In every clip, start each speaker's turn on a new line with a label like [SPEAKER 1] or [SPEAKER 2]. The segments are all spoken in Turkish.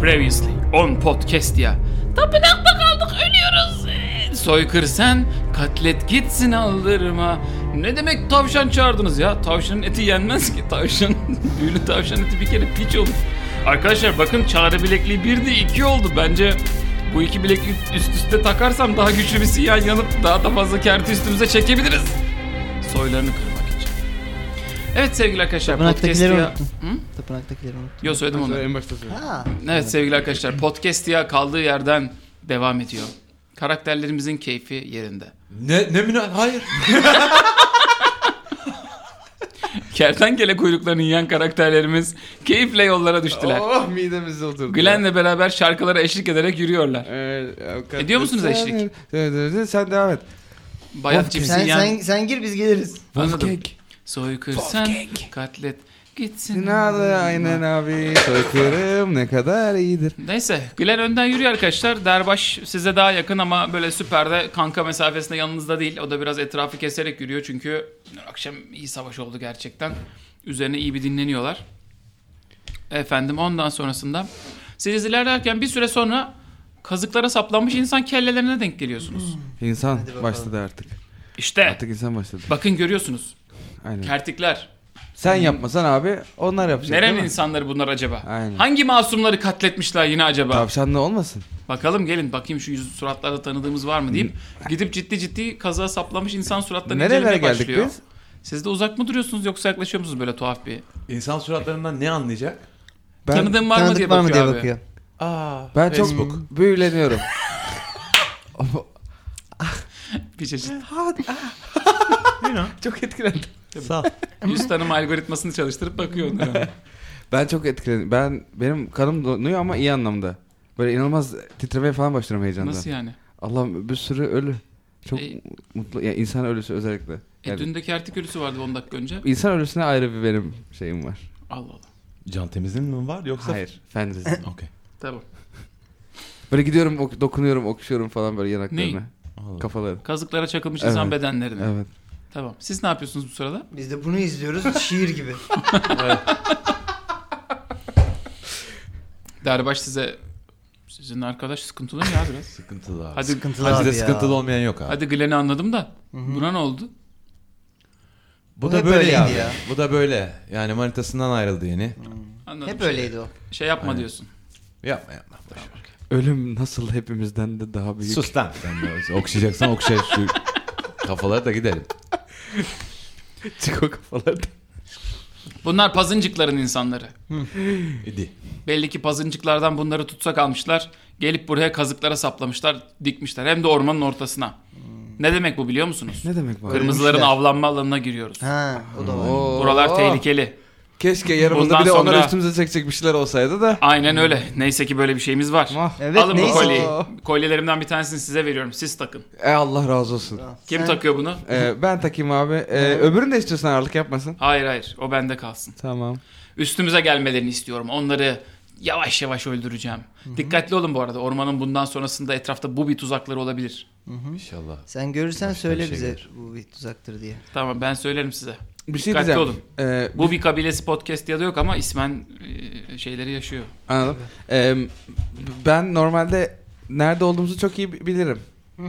[SPEAKER 1] Previously on podcast ya. Tapınakta kaldık ölüyoruz. Ee, Soykır sen katlet gitsin aldırma. Ne demek tavşan çağırdınız ya? Tavşanın eti yenmez ki. Tavşan, büyülü tavşan eti bir kere piç olur. Arkadaşlar bakın çağrı bilekliği bir de iki oldu. Bence bu iki bilekliği üst üste takarsam daha güçlü bir sinyal yanıp daha da fazla kerti üstümüze çekebiliriz. Soylarını kırmak için. Evet sevgili arkadaşlar. podcast
[SPEAKER 2] Tapınaktakileri
[SPEAKER 1] ya-
[SPEAKER 2] unuttum.
[SPEAKER 1] Hı?
[SPEAKER 2] Tapınaktakileri unuttum.
[SPEAKER 1] Yo söyledim onu.
[SPEAKER 3] En başta söyle.
[SPEAKER 2] Ha.
[SPEAKER 1] Evet sevgili arkadaşlar podcast ya kaldığı yerden devam ediyor. Karakterlerimizin keyfi yerinde.
[SPEAKER 3] Ne, ne müna... Hayır.
[SPEAKER 1] Kertenkele kuyruklarını yiyen karakterlerimiz keyifle yollara düştüler.
[SPEAKER 3] oh midemize oturdu.
[SPEAKER 1] Glenn'le beraber şarkılara eşlik ederek yürüyorlar.
[SPEAKER 3] Evet, avukat-
[SPEAKER 1] Ediyor musunuz eşlik?
[SPEAKER 3] Evet, evet, evet, Sen devam et.
[SPEAKER 1] Bayat
[SPEAKER 2] Sen,
[SPEAKER 1] cipsi yiyen...
[SPEAKER 2] sen, sen gir biz geliriz.
[SPEAKER 1] Anladım. Soykır sen katlet gitsin.
[SPEAKER 3] Günalı aynen abi. Soykırım ne kadar iyidir.
[SPEAKER 1] Neyse Glenn önden yürüyor arkadaşlar. Derbaş size daha yakın ama böyle süperde kanka mesafesinde yanınızda değil. O da biraz etrafı keserek yürüyor çünkü dün akşam iyi savaş oldu gerçekten. Üzerine iyi bir dinleniyorlar. Efendim ondan sonrasında siz ilerlerken bir süre sonra kazıklara saplanmış insan kellelerine denk geliyorsunuz.
[SPEAKER 3] İnsan
[SPEAKER 2] bakalım.
[SPEAKER 3] başladı artık.
[SPEAKER 1] İşte
[SPEAKER 3] Artık insan başladı.
[SPEAKER 1] bakın görüyorsunuz
[SPEAKER 3] Aynen.
[SPEAKER 1] kertikler.
[SPEAKER 3] Sen yapmasan abi onlar yapacak. Şey değil
[SPEAKER 1] Nerenin
[SPEAKER 3] mi?
[SPEAKER 1] insanları bunlar acaba?
[SPEAKER 3] Aynen.
[SPEAKER 1] Hangi masumları katletmişler yine acaba?
[SPEAKER 3] Tavşanlı olmasın.
[SPEAKER 1] Bakalım gelin bakayım şu yüz suratlarda tanıdığımız var mı deyip gidip ciddi ciddi kazığa saplamış insan suratlarını
[SPEAKER 3] Hmm. Nerelere
[SPEAKER 1] incelemeye
[SPEAKER 3] geldik
[SPEAKER 1] başlıyor.
[SPEAKER 3] biz?
[SPEAKER 1] Siz de uzak mı duruyorsunuz yoksa yaklaşıyor musunuz böyle tuhaf bir?
[SPEAKER 4] İnsan suratlarından ne anlayacak?
[SPEAKER 3] Ben,
[SPEAKER 1] Tanıdığım var mı
[SPEAKER 2] Tanıdık
[SPEAKER 1] diye
[SPEAKER 2] var mı
[SPEAKER 1] bakıyor
[SPEAKER 2] diye
[SPEAKER 1] abi.
[SPEAKER 2] bakıyor.
[SPEAKER 4] Aa,
[SPEAKER 3] ben çok
[SPEAKER 4] Facebook.
[SPEAKER 3] büyüleniyorum.
[SPEAKER 1] Bir çeşit.
[SPEAKER 3] çok etkilendim.
[SPEAKER 4] Sağ ol.
[SPEAKER 1] Yüz tanım algoritmasını çalıştırıp bakıyor onlara.
[SPEAKER 3] Ben çok etkilendim. Ben benim kanım donuyor ama iyi anlamda. Böyle inanılmaz titremeye falan başlıyorum heyecandan.
[SPEAKER 1] Nasıl yani?
[SPEAKER 3] Allah'ım bir sürü ölü. Çok
[SPEAKER 1] E-
[SPEAKER 3] mutlu. Yani insan ölüsü özellikle.
[SPEAKER 1] E,
[SPEAKER 3] Yani
[SPEAKER 1] dün de kertik ölüsü vardı 10 dakika önce.
[SPEAKER 3] İnsan ölüsüne ayrı bir benim şeyim var.
[SPEAKER 1] Allah Allah.
[SPEAKER 4] Can temizliğin mi var yoksa?
[SPEAKER 3] Hayır. Fendizm.
[SPEAKER 4] Okey.
[SPEAKER 1] Tamam.
[SPEAKER 3] böyle gidiyorum, ok- dokunuyorum, okşuyorum falan böyle yanaklarına.
[SPEAKER 4] Anladım.
[SPEAKER 3] Kafaları.
[SPEAKER 1] Kazıklara çakılmış
[SPEAKER 3] Evet.
[SPEAKER 1] insan bedenlerine.
[SPEAKER 3] Evet.
[SPEAKER 1] Tamam. Siz ne yapıyorsunuz bu sırada?
[SPEAKER 2] Biz de bunu izliyoruz şiir gibi.
[SPEAKER 1] Derbaş size sizin arkadaş sıkıntılı mı ya biraz?
[SPEAKER 4] Sıkıntılı abi.
[SPEAKER 1] Hadi
[SPEAKER 2] Sıkıntılı
[SPEAKER 4] Hadi
[SPEAKER 2] abi
[SPEAKER 4] de
[SPEAKER 2] ya.
[SPEAKER 4] sıkıntılı olmayan yok abi.
[SPEAKER 1] hadi Glenn'i anladım da.
[SPEAKER 2] hı.
[SPEAKER 1] Buna ne oldu?
[SPEAKER 4] Bu
[SPEAKER 2] hep
[SPEAKER 4] da böyle
[SPEAKER 2] öyleydi
[SPEAKER 4] ya.
[SPEAKER 2] ya.
[SPEAKER 4] Bu da böyle. Yani manitasından ayrıldı yeni.
[SPEAKER 1] Anladım.
[SPEAKER 2] Hep öyleydi o.
[SPEAKER 1] Şey yapma diyorsun.
[SPEAKER 4] Yapma yapma. boş ver.
[SPEAKER 3] Ölüm nasıl hepimizden de daha büyük.
[SPEAKER 4] Sus lan. Sen de okşayacaksan okşay şu kafalara da gidelim.
[SPEAKER 3] Çık o kafalarda.
[SPEAKER 1] Bunlar pazıncıkların insanları.
[SPEAKER 4] İdi.
[SPEAKER 1] Belli ki pazıncıklardan bunları tutsak almışlar. Gelip buraya kazıklara saplamışlar, dikmişler. Hem de ormanın ortasına. Ne demek bu biliyor musunuz?
[SPEAKER 3] Ne demek bu?
[SPEAKER 1] Kırmızıların
[SPEAKER 2] Hmm. Ölmüşler.
[SPEAKER 1] avlanma alanına giriyoruz.
[SPEAKER 2] Ha o da var.
[SPEAKER 3] Oo.
[SPEAKER 1] Buralar tehlikeli.
[SPEAKER 3] Keşke yanımızda
[SPEAKER 1] Bundan
[SPEAKER 3] bir de
[SPEAKER 1] sonra-
[SPEAKER 3] onlar üstümüze çekecek bir şeyler olsaydı da.
[SPEAKER 1] Aynen öyle. Neyse ki böyle bir şeyimiz var.
[SPEAKER 3] Ah.
[SPEAKER 2] Evet
[SPEAKER 1] Alın bu
[SPEAKER 2] neyse.
[SPEAKER 1] kolyeyi.
[SPEAKER 3] Aa.
[SPEAKER 1] Kolyelerimden bir tanesini size veriyorum. Siz takın.
[SPEAKER 3] E Allah razı olsun.
[SPEAKER 1] Kim
[SPEAKER 2] Sen-
[SPEAKER 1] takıyor bunu?
[SPEAKER 3] Ee, ben takayım abi. Ee, öbürünü de istiyorsan ağırlık yapmasın.
[SPEAKER 1] Hayır hayır. O bende kalsın.
[SPEAKER 3] Tamam.
[SPEAKER 1] Üstümüze gelmelerini istiyorum. Onları yavaş yavaş öldüreceğim. Dikkatli olun bu arada. Ormanın bundan sonrasında etrafta bu bir tuzakları olabilir.
[SPEAKER 4] İnşallah.
[SPEAKER 2] Sen görürsen
[SPEAKER 4] Başka
[SPEAKER 2] söyle
[SPEAKER 4] bir şey
[SPEAKER 2] bize
[SPEAKER 4] gelir.
[SPEAKER 2] bu bir tuzaktır diye.
[SPEAKER 1] Tamam ben söylerim size.
[SPEAKER 3] Bir şey
[SPEAKER 1] Dikkatli
[SPEAKER 3] diyeceğim.
[SPEAKER 1] olun.
[SPEAKER 3] Ee,
[SPEAKER 1] Bu bir kabilesi podcast ya da yok ama ismen e, şeyleri yaşıyor.
[SPEAKER 3] Anladım. Ee, ben normalde nerede olduğumuzu çok iyi bi- bilirim.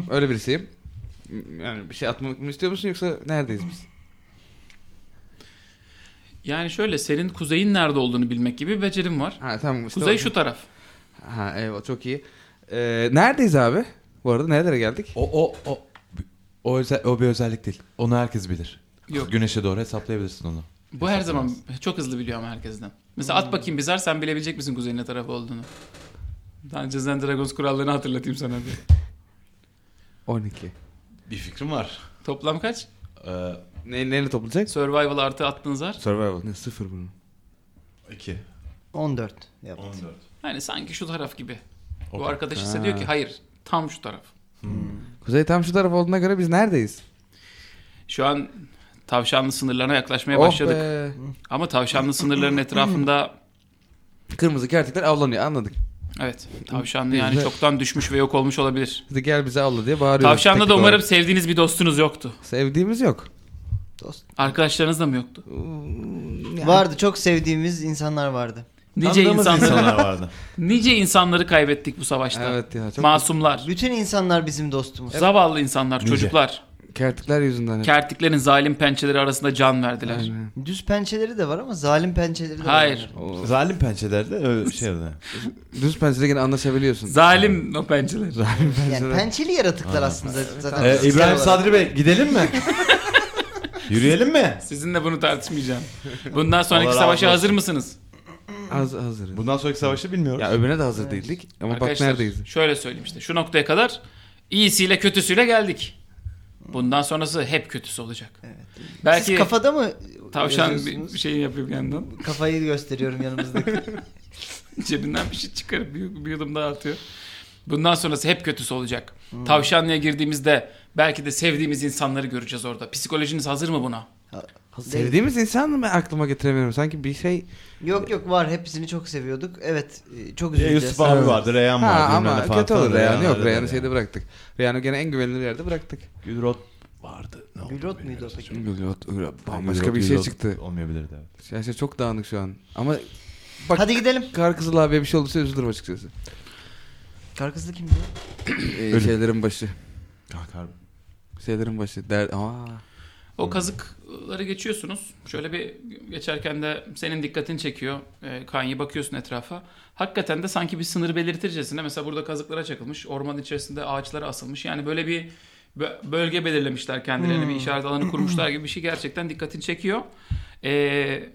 [SPEAKER 3] Öyle birisiyim. Yani bir şey atmak mı istiyor musun yoksa neredeyiz biz?
[SPEAKER 1] Yani şöyle senin kuzeyin nerede olduğunu bilmek gibi bir becerim var.
[SPEAKER 3] Ha tamam. işte
[SPEAKER 1] Kuzey
[SPEAKER 3] o-
[SPEAKER 1] şu taraf.
[SPEAKER 3] Ha eyvallah çok iyi. Ee, neredeyiz abi? Bu arada nerelere geldik?
[SPEAKER 4] O o o o, özel, o bir özellik değil. Onu herkes bilir.
[SPEAKER 1] Yok.
[SPEAKER 4] Güneşe doğru hesaplayabilirsin onu.
[SPEAKER 1] Bu her zaman çok hızlı biliyor ama herkesten. Mesela
[SPEAKER 3] Hmm.
[SPEAKER 1] at bakayım Bizar sen bilebilecek misin kuzeyin ne tarafı olduğunu? Dungeons and Dragons kurallarını hatırlatayım sana bir.
[SPEAKER 3] 12.
[SPEAKER 4] Bir fikrim var.
[SPEAKER 1] Toplam kaç?
[SPEAKER 4] Ee,
[SPEAKER 3] Ne, neyle toplayacak?
[SPEAKER 1] Survival artı attığınız var.
[SPEAKER 4] Survival.
[SPEAKER 3] Ne sıfır bunun.
[SPEAKER 4] 2.
[SPEAKER 2] 14 yaptı.
[SPEAKER 4] 14.
[SPEAKER 1] Yani Hani sanki şu taraf gibi. Bu
[SPEAKER 4] Okey.
[SPEAKER 1] arkadaş ise
[SPEAKER 3] Ha.
[SPEAKER 1] diyor ki hayır tam şu taraf.
[SPEAKER 3] Kuzey tam şu taraf olduğuna göre biz neredeyiz?
[SPEAKER 1] Şu an tavşanlı sınırlarına yaklaşmaya
[SPEAKER 3] Oh
[SPEAKER 1] başladık.
[SPEAKER 3] be.
[SPEAKER 1] Ama tavşanlı sınırların etrafında
[SPEAKER 3] Kırmızı kertikler avlanıyor anladık.
[SPEAKER 1] Evet. Tavşanlı yani
[SPEAKER 3] Bizde-
[SPEAKER 1] çoktan düşmüş ve yok olmuş olabilir.
[SPEAKER 3] Hadi gel bize avla diye bağırıyoruz.
[SPEAKER 1] Tavşanlı
[SPEAKER 3] Tek
[SPEAKER 1] da umarım
[SPEAKER 3] olarak.
[SPEAKER 1] sevdiğiniz bir dostunuz yoktu.
[SPEAKER 3] Sevdiğimiz yok.
[SPEAKER 2] Dost.
[SPEAKER 1] Arkadaşlarınız da mı yoktu?
[SPEAKER 3] Yani-
[SPEAKER 2] Vardı çok sevdiğimiz insanlar vardı.
[SPEAKER 1] Nice
[SPEAKER 4] Tanıdığımız
[SPEAKER 1] insanları,
[SPEAKER 4] insanlar vardı.
[SPEAKER 1] nice insanları kaybettik bu savaşta.
[SPEAKER 3] Evet ya çok
[SPEAKER 1] Masumlar,
[SPEAKER 2] Bütün insanlar bizim dostumuz.
[SPEAKER 1] zavallı insanlar,
[SPEAKER 4] Nice.
[SPEAKER 1] çocuklar.
[SPEAKER 3] kertikler yüzünden. hep.
[SPEAKER 1] Kertiklerin zalim pençeleri arasında can verdiler.
[SPEAKER 3] Aynen.
[SPEAKER 2] Düz pençeleri de var ama zalim pençeleri de
[SPEAKER 1] Hayır.
[SPEAKER 2] var.
[SPEAKER 3] O
[SPEAKER 4] Zalim pençelerde öyle şey oldu.
[SPEAKER 3] düz pençede gene anlaşabiliyorsun.
[SPEAKER 1] Zalim o pençeler.
[SPEAKER 2] Hayır. Yani
[SPEAKER 3] Pençeler-
[SPEAKER 2] pençeli yaratıklar aslında zaten.
[SPEAKER 4] Ee,
[SPEAKER 2] fiziksel
[SPEAKER 4] İbrahim
[SPEAKER 2] olarak.
[SPEAKER 4] Sadri Bey gidelim mi? Yürüyelim mi?
[SPEAKER 1] Sizinle bunu tartışmayacağım. Bundan sonraki
[SPEAKER 4] Allah razı
[SPEAKER 1] savaşa
[SPEAKER 4] olsun.
[SPEAKER 1] hazır mısınız?
[SPEAKER 3] Az hazırız.
[SPEAKER 4] Bundan sonraki savaşı bilmiyoruz.
[SPEAKER 3] Ya öbürüne de hazır değildik ama bak
[SPEAKER 1] Arkadaşlar,
[SPEAKER 3] neredeyiz.
[SPEAKER 1] Şöyle söyleyeyim işte şu noktaya kadar iyisiyle kötüsüyle geldik. Bundan sonrası hep kötüsü olacak. Belki
[SPEAKER 2] Siz kafada mı
[SPEAKER 1] tavşan bir
[SPEAKER 2] yazıyorsunuz?
[SPEAKER 1] şey yapıyor bir yandan.
[SPEAKER 2] Kafayı gösteriyorum yanımızdaki.
[SPEAKER 1] Cebinden bir şey çıkarıp bir, bir yudum daha atıyor. Bundan sonrası hep kötüsü olacak. Tavşanlığa girdiğimizde belki de sevdiğimiz insanları göreceğiz orada. Psikolojiniz hazır mı buna?
[SPEAKER 3] Sevdiğimiz insan mı ben aklıma getiremiyorum. Sanki bir şey
[SPEAKER 2] Yok yok var hepsini çok seviyorduk. Evet e, çok
[SPEAKER 4] Ee,
[SPEAKER 2] üzüleceğiz.
[SPEAKER 4] Yusuf abi vardı, Reyhan
[SPEAKER 3] Ha,
[SPEAKER 4] vardı. bilmem ne
[SPEAKER 3] ama
[SPEAKER 4] falan
[SPEAKER 3] kötü olur
[SPEAKER 4] filan.
[SPEAKER 3] Reyhan'ı yok.
[SPEAKER 4] öyle
[SPEAKER 3] Reyhan'ı
[SPEAKER 4] dedi
[SPEAKER 3] şeyde
[SPEAKER 4] ya.
[SPEAKER 3] bıraktık. Reyhan'ı gene en güvenilir yerde bıraktık.
[SPEAKER 4] Gülrot vardı. Ne oldu
[SPEAKER 2] Gülrot
[SPEAKER 4] bilmiyorum.
[SPEAKER 2] muydu o peki?
[SPEAKER 3] Bambaşka
[SPEAKER 4] Gülrot,
[SPEAKER 3] bir şey
[SPEAKER 4] Gülrot
[SPEAKER 3] çıktı.
[SPEAKER 4] Olmayabilirdi evet.
[SPEAKER 3] Her şey çok dağınık şu an. Ama bak
[SPEAKER 2] Hadi gidelim.
[SPEAKER 3] Kar Kızıl abiye bir şey olursa üzülürüm açıkçası.
[SPEAKER 2] Karkızlı kimdi? ya?
[SPEAKER 3] Ee,
[SPEAKER 4] Ölüm.
[SPEAKER 3] şeylerin başı.
[SPEAKER 4] Kalkar.
[SPEAKER 3] Şeylerin başı. Der... Aa.
[SPEAKER 1] O kazıkları geçiyorsunuz. Şöyle bir geçerken de senin dikkatini çekiyor. E, Kanye bakıyorsun etrafa. Hakikaten de sanki bir sınır belirtircesine mesela burada kazıklara çakılmış. Ormanın içerisinde ağaçlara asılmış. Yani böyle bir bö- bölge belirlemişler kendilerine bir işaret alanı kurmuşlar gibi bir şey gerçekten dikkatini çekiyor. E,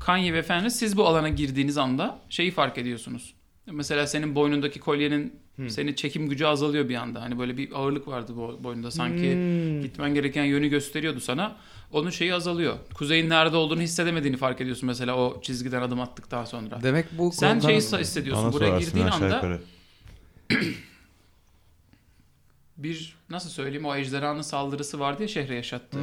[SPEAKER 1] Kanye ve Fenris siz bu alana girdiğiniz anda şeyi fark ediyorsunuz. Mesela senin boynundaki kolyenin seni çekim gücü azalıyor bir anda. Hani böyle bir ağırlık vardı bu boynunda sanki gitmen gereken yönü gösteriyordu sana. Onun şeyi azalıyor. Kuzeyin nerede olduğunu hissedemediğini fark ediyorsun mesela o çizgiden adım attıktan sonra.
[SPEAKER 3] Demek bu
[SPEAKER 1] Sen şey
[SPEAKER 3] konudan-
[SPEAKER 1] şeyi sa- hissediyorsun.
[SPEAKER 4] Bana
[SPEAKER 1] Buraya
[SPEAKER 4] sorarsın
[SPEAKER 1] girdiğin
[SPEAKER 5] şey
[SPEAKER 4] aşağı
[SPEAKER 1] anda
[SPEAKER 4] yukarı.
[SPEAKER 1] bir nasıl söyleyeyim o ejderhanın saldırısı vardı ya şehre yaşattı.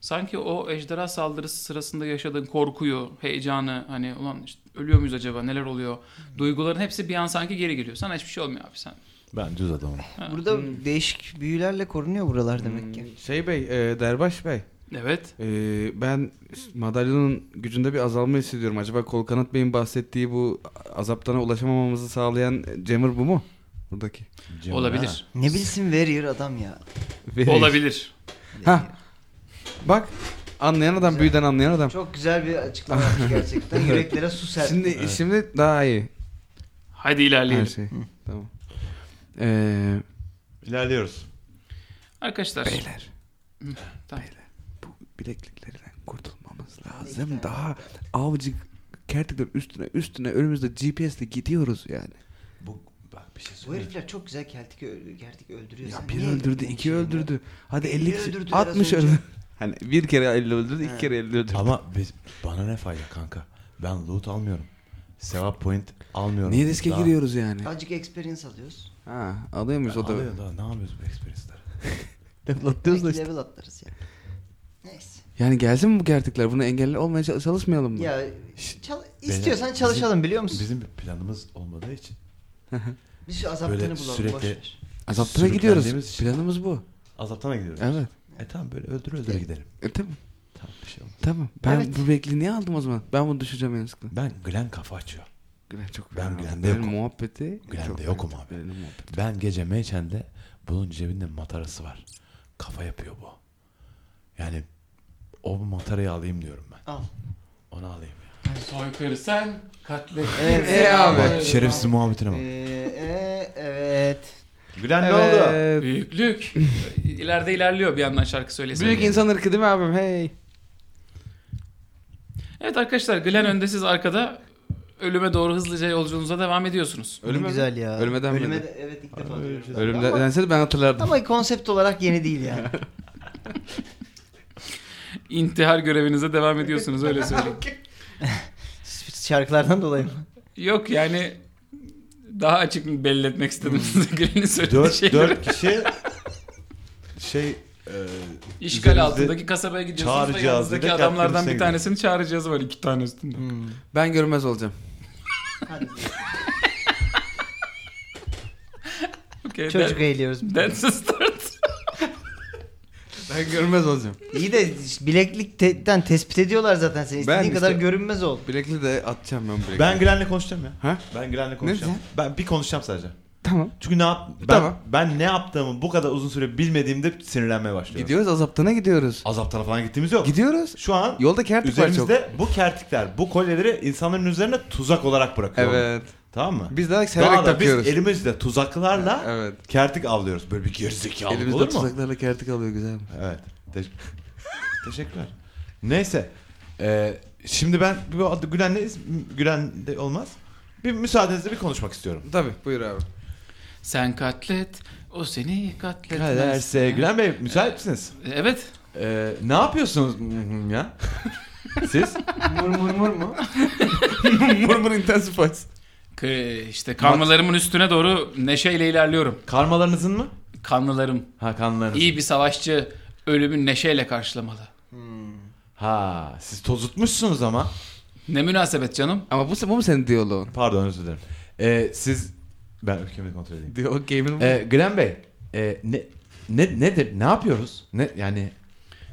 [SPEAKER 1] Sanki o ejderha saldırısı sırasında yaşadığın korkuyu, heyecanı hani ulan işte ölüyor muyuz acaba neler oluyor? Duyguların hepsi bir an sanki geri geliyor. Sana hiçbir şey olmuyor abi sen.
[SPEAKER 4] Ben düz adamım.
[SPEAKER 2] Burada değişik büyülerle korunuyor buralar demek ki.
[SPEAKER 3] Şey bey, e, Derbaş bey.
[SPEAKER 1] Evet.
[SPEAKER 3] e, ben madalyonun gücünde bir azalma hissediyorum. Acaba Kolkanat Bey'in bahsettiği bu azaptana ulaşamamamızı sağlayan Cemur bu mu? Buradaki.
[SPEAKER 4] Cem, ha.
[SPEAKER 1] olabilir.
[SPEAKER 2] Ne bilsin veriyor adam ya.
[SPEAKER 3] Ve-
[SPEAKER 1] Olabilir.
[SPEAKER 3] Ha. Bak anlayan adam
[SPEAKER 2] Güzel.
[SPEAKER 3] büyüden anlayan adam.
[SPEAKER 2] Çok güzel bir açıklama yaptı gerçekten. Yüreklere su serpti.
[SPEAKER 3] Şimdi şimdi daha iyi
[SPEAKER 1] Hadi
[SPEAKER 3] her
[SPEAKER 1] ilerleyelim.
[SPEAKER 3] şey. Tamam. Ee,
[SPEAKER 4] İlerliyoruz.
[SPEAKER 1] Arkadaşlar.
[SPEAKER 3] beyler
[SPEAKER 1] tamam.
[SPEAKER 3] bu bilekliklerden kurtulmamız lazım. Daha avcı kertiklerin üstüne üstüne önümüzde GPS'le gidiyoruz yani.
[SPEAKER 4] Bu, bak bir şey
[SPEAKER 2] Bu
[SPEAKER 4] söyleyeyim.
[SPEAKER 2] herifler çok güzel kertik öldü, kertik öldürüyor.
[SPEAKER 3] Ya
[SPEAKER 2] Sen
[SPEAKER 3] bir
[SPEAKER 2] niye
[SPEAKER 3] öldürdü,
[SPEAKER 2] elini
[SPEAKER 3] iki
[SPEAKER 2] çekiyorsun ya?
[SPEAKER 3] öldürdü. Hadi
[SPEAKER 2] Elli
[SPEAKER 3] 50
[SPEAKER 2] öldürdü
[SPEAKER 3] öldürdü,
[SPEAKER 2] biraz
[SPEAKER 3] 60
[SPEAKER 2] önce.
[SPEAKER 3] öldürdü. Hani bir kere 50 öldürdü, iki
[SPEAKER 2] He.
[SPEAKER 3] kere 50 öldürdü.
[SPEAKER 4] Ama biz, bana ne fayda kanka? Ben loot almıyorum. Sevap point almıyorum.
[SPEAKER 3] Niye riske
[SPEAKER 4] Daha-
[SPEAKER 3] giriyoruz yani?
[SPEAKER 2] Azıcık experience alıyoruz.
[SPEAKER 3] Ha, alıyor muyuz o da?
[SPEAKER 4] Alıyor da ne yapıyoruz bu experience'ları?
[SPEAKER 3] Devlatlıyoruz da
[SPEAKER 2] Belki
[SPEAKER 3] işte.
[SPEAKER 2] level atlarız ya. Neyse.
[SPEAKER 3] Yani gelsin mi bu kertikler? Bunu engelle olmaya çalış- çalışmayalım mı?
[SPEAKER 2] Ya
[SPEAKER 4] Şşt,
[SPEAKER 2] çal-
[SPEAKER 4] beyler,
[SPEAKER 2] istiyorsan çalışalım biliyor musun?
[SPEAKER 4] Bizim bir planımız olmadığı için
[SPEAKER 2] Biz şu azaptığını
[SPEAKER 4] böyle
[SPEAKER 2] bulalım
[SPEAKER 4] sürekli-
[SPEAKER 2] boş ver.
[SPEAKER 3] Azaptana gidiyoruz.
[SPEAKER 4] sürüklendiğimiz için.
[SPEAKER 3] Planımız bu.
[SPEAKER 4] azaptana gidiyoruz.
[SPEAKER 3] Evet.
[SPEAKER 4] E tamam böyle öldür öldür gidelim.
[SPEAKER 3] E, tamam.
[SPEAKER 4] Tamam bir şey olmaz.
[SPEAKER 3] Tamam. Ben
[SPEAKER 2] Evet.
[SPEAKER 3] bu bekli niye aldım o zaman? Ben bunu düşeceğim en sıkıntı.
[SPEAKER 4] Ben Glen kafa açıyor.
[SPEAKER 3] Gülen çok
[SPEAKER 4] Ben
[SPEAKER 3] beğendim.
[SPEAKER 4] Gülen'de
[SPEAKER 3] Benim
[SPEAKER 4] yokum.
[SPEAKER 3] muhabbeti.
[SPEAKER 4] Gülen'de
[SPEAKER 3] çok-
[SPEAKER 4] yokum abi.
[SPEAKER 3] Benim muhabbeti.
[SPEAKER 4] Ben gece meyçende bunun cebinde matarası var. Kafa yapıyor bu. Yani o matarayı alayım diyorum ben.
[SPEAKER 2] Al.
[SPEAKER 4] Onu alayım.
[SPEAKER 1] Soykırı sen, katlet.
[SPEAKER 2] Evet.
[SPEAKER 3] E abi.
[SPEAKER 4] Bak şerefsiz muhabbetine
[SPEAKER 2] Ee,
[SPEAKER 4] bak.
[SPEAKER 2] e, evet.
[SPEAKER 4] Gülen
[SPEAKER 3] Evet.
[SPEAKER 1] Büyüklük. İleride ilerliyor bir yandan şarkı söylesem.
[SPEAKER 3] Büyük insan ırkı değil mi abim? Hey.
[SPEAKER 1] Evet arkadaşlar Glenn önde siz arkada ölüme doğru hızlıca yolculuğunuza devam ediyorsunuz.
[SPEAKER 2] Ölüm
[SPEAKER 3] Ölüme-
[SPEAKER 2] güzel ya.
[SPEAKER 3] Ölüme denmedi.
[SPEAKER 2] Ölüme de- evet ilk defa duyuyorum.
[SPEAKER 3] Ölümden
[SPEAKER 2] Ama,
[SPEAKER 3] dense de ben hatırlardım.
[SPEAKER 2] ama konsept olarak yeni değil yani.
[SPEAKER 1] İntihar görevinize devam ediyorsunuz öyle söyleyeyim.
[SPEAKER 2] Şarkılardan dolayı mı?
[SPEAKER 1] Yok yani daha açık belli etmek istedim size Glenn'in söylediği
[SPEAKER 4] Dört,
[SPEAKER 1] şeyleri.
[SPEAKER 4] dört kişi şey e,
[SPEAKER 1] İşgal
[SPEAKER 4] üzerimizde-
[SPEAKER 1] altındaki kasabaya gidiyorsunuz da
[SPEAKER 4] çağrı
[SPEAKER 1] yanınızdaki
[SPEAKER 4] cihazıyla
[SPEAKER 1] adamlardan
[SPEAKER 4] kaptırmışsın
[SPEAKER 1] bir
[SPEAKER 4] gibi.
[SPEAKER 1] tanesinin çağrı cihazı var iki tane üstünde.
[SPEAKER 2] Hmm.
[SPEAKER 3] Ben görmez olacağım.
[SPEAKER 2] Hadi.
[SPEAKER 1] Okay,
[SPEAKER 2] Çocuk eğiliyoruz.
[SPEAKER 1] that, that's the start.
[SPEAKER 3] Ben görmez olacağım.
[SPEAKER 2] İyi de bileklikten tespit ediyorlar zaten seni. İstediğin
[SPEAKER 3] Ben
[SPEAKER 2] kadar
[SPEAKER 3] işte-
[SPEAKER 2] görünmez ol.
[SPEAKER 3] Bilekli de atacağım ben bilekli.
[SPEAKER 5] Ben Glen'le konuşacağım ya.
[SPEAKER 3] Ha?
[SPEAKER 5] Ben Glen'le konuşacağım.
[SPEAKER 3] Ne
[SPEAKER 5] Ben bir konuşacağım sadece.
[SPEAKER 3] Tamam.
[SPEAKER 5] Çünkü ne yap ben,
[SPEAKER 3] Tamam.
[SPEAKER 5] ben ne yaptığımı bu kadar uzun süre bilmediğimde sinirlenmeye başlıyorum.
[SPEAKER 3] Gidiyoruz azaptana gidiyoruz.
[SPEAKER 5] Azap tarafına gittiğimiz yok.
[SPEAKER 3] Gidiyoruz.
[SPEAKER 5] Şu an
[SPEAKER 3] Yolda kertik var çok.
[SPEAKER 5] üzerimizde bu kertikler, bu kolyeleri insanların üzerine tuzak olarak bırakıyorlar.
[SPEAKER 3] Evet.
[SPEAKER 5] Tamam mı?
[SPEAKER 3] Biz daha
[SPEAKER 5] Daha
[SPEAKER 3] severek
[SPEAKER 5] da
[SPEAKER 3] takıyoruz.
[SPEAKER 5] biz elimizde tuzaklarla
[SPEAKER 3] Evet.
[SPEAKER 5] kertik avlıyoruz. Böyle bir gerizekalı
[SPEAKER 3] Elimizde
[SPEAKER 5] olur mu?
[SPEAKER 3] tuzaklarla kertik alıyor güzel.
[SPEAKER 5] Evet. Te- Teşekkürler. Neyse. Ee, şimdi ben bu adı Gülen'le Gülen de olmaz. Bir müsaadenizle bir konuşmak istiyorum.
[SPEAKER 3] Tabii buyur abi.
[SPEAKER 1] Sen katlet, o seni katletmez.
[SPEAKER 5] Kaderse Gülen Bey müsait misiniz?
[SPEAKER 1] Evet.
[SPEAKER 5] Ee, ne yapıyorsunuz ya? Siz?
[SPEAKER 2] Mur mur mur mu?
[SPEAKER 3] Murmur intensifies.
[SPEAKER 1] K- işte kanlılarımın üstüne doğru neşeyle ilerliyorum.
[SPEAKER 5] Karmalarınızın mı?
[SPEAKER 1] Kanlılarım
[SPEAKER 5] Ha kanlarınızın.
[SPEAKER 1] iyi bir savaşçı ölümü neşeyle karşılamalı.
[SPEAKER 5] Ha siz tozutmuşsunuz ama.
[SPEAKER 1] Ne münasebet canım.
[SPEAKER 3] Ama bu, bu mu senin diyaloğun?
[SPEAKER 5] Pardon özür dilerim. Ee, siz... Ben ülkemi kontrol edeyim.
[SPEAKER 3] Diyalog game'in
[SPEAKER 5] Ee, Gülen Bey. e, ne, ne, nedir? Ne yapıyoruz? Ne yani...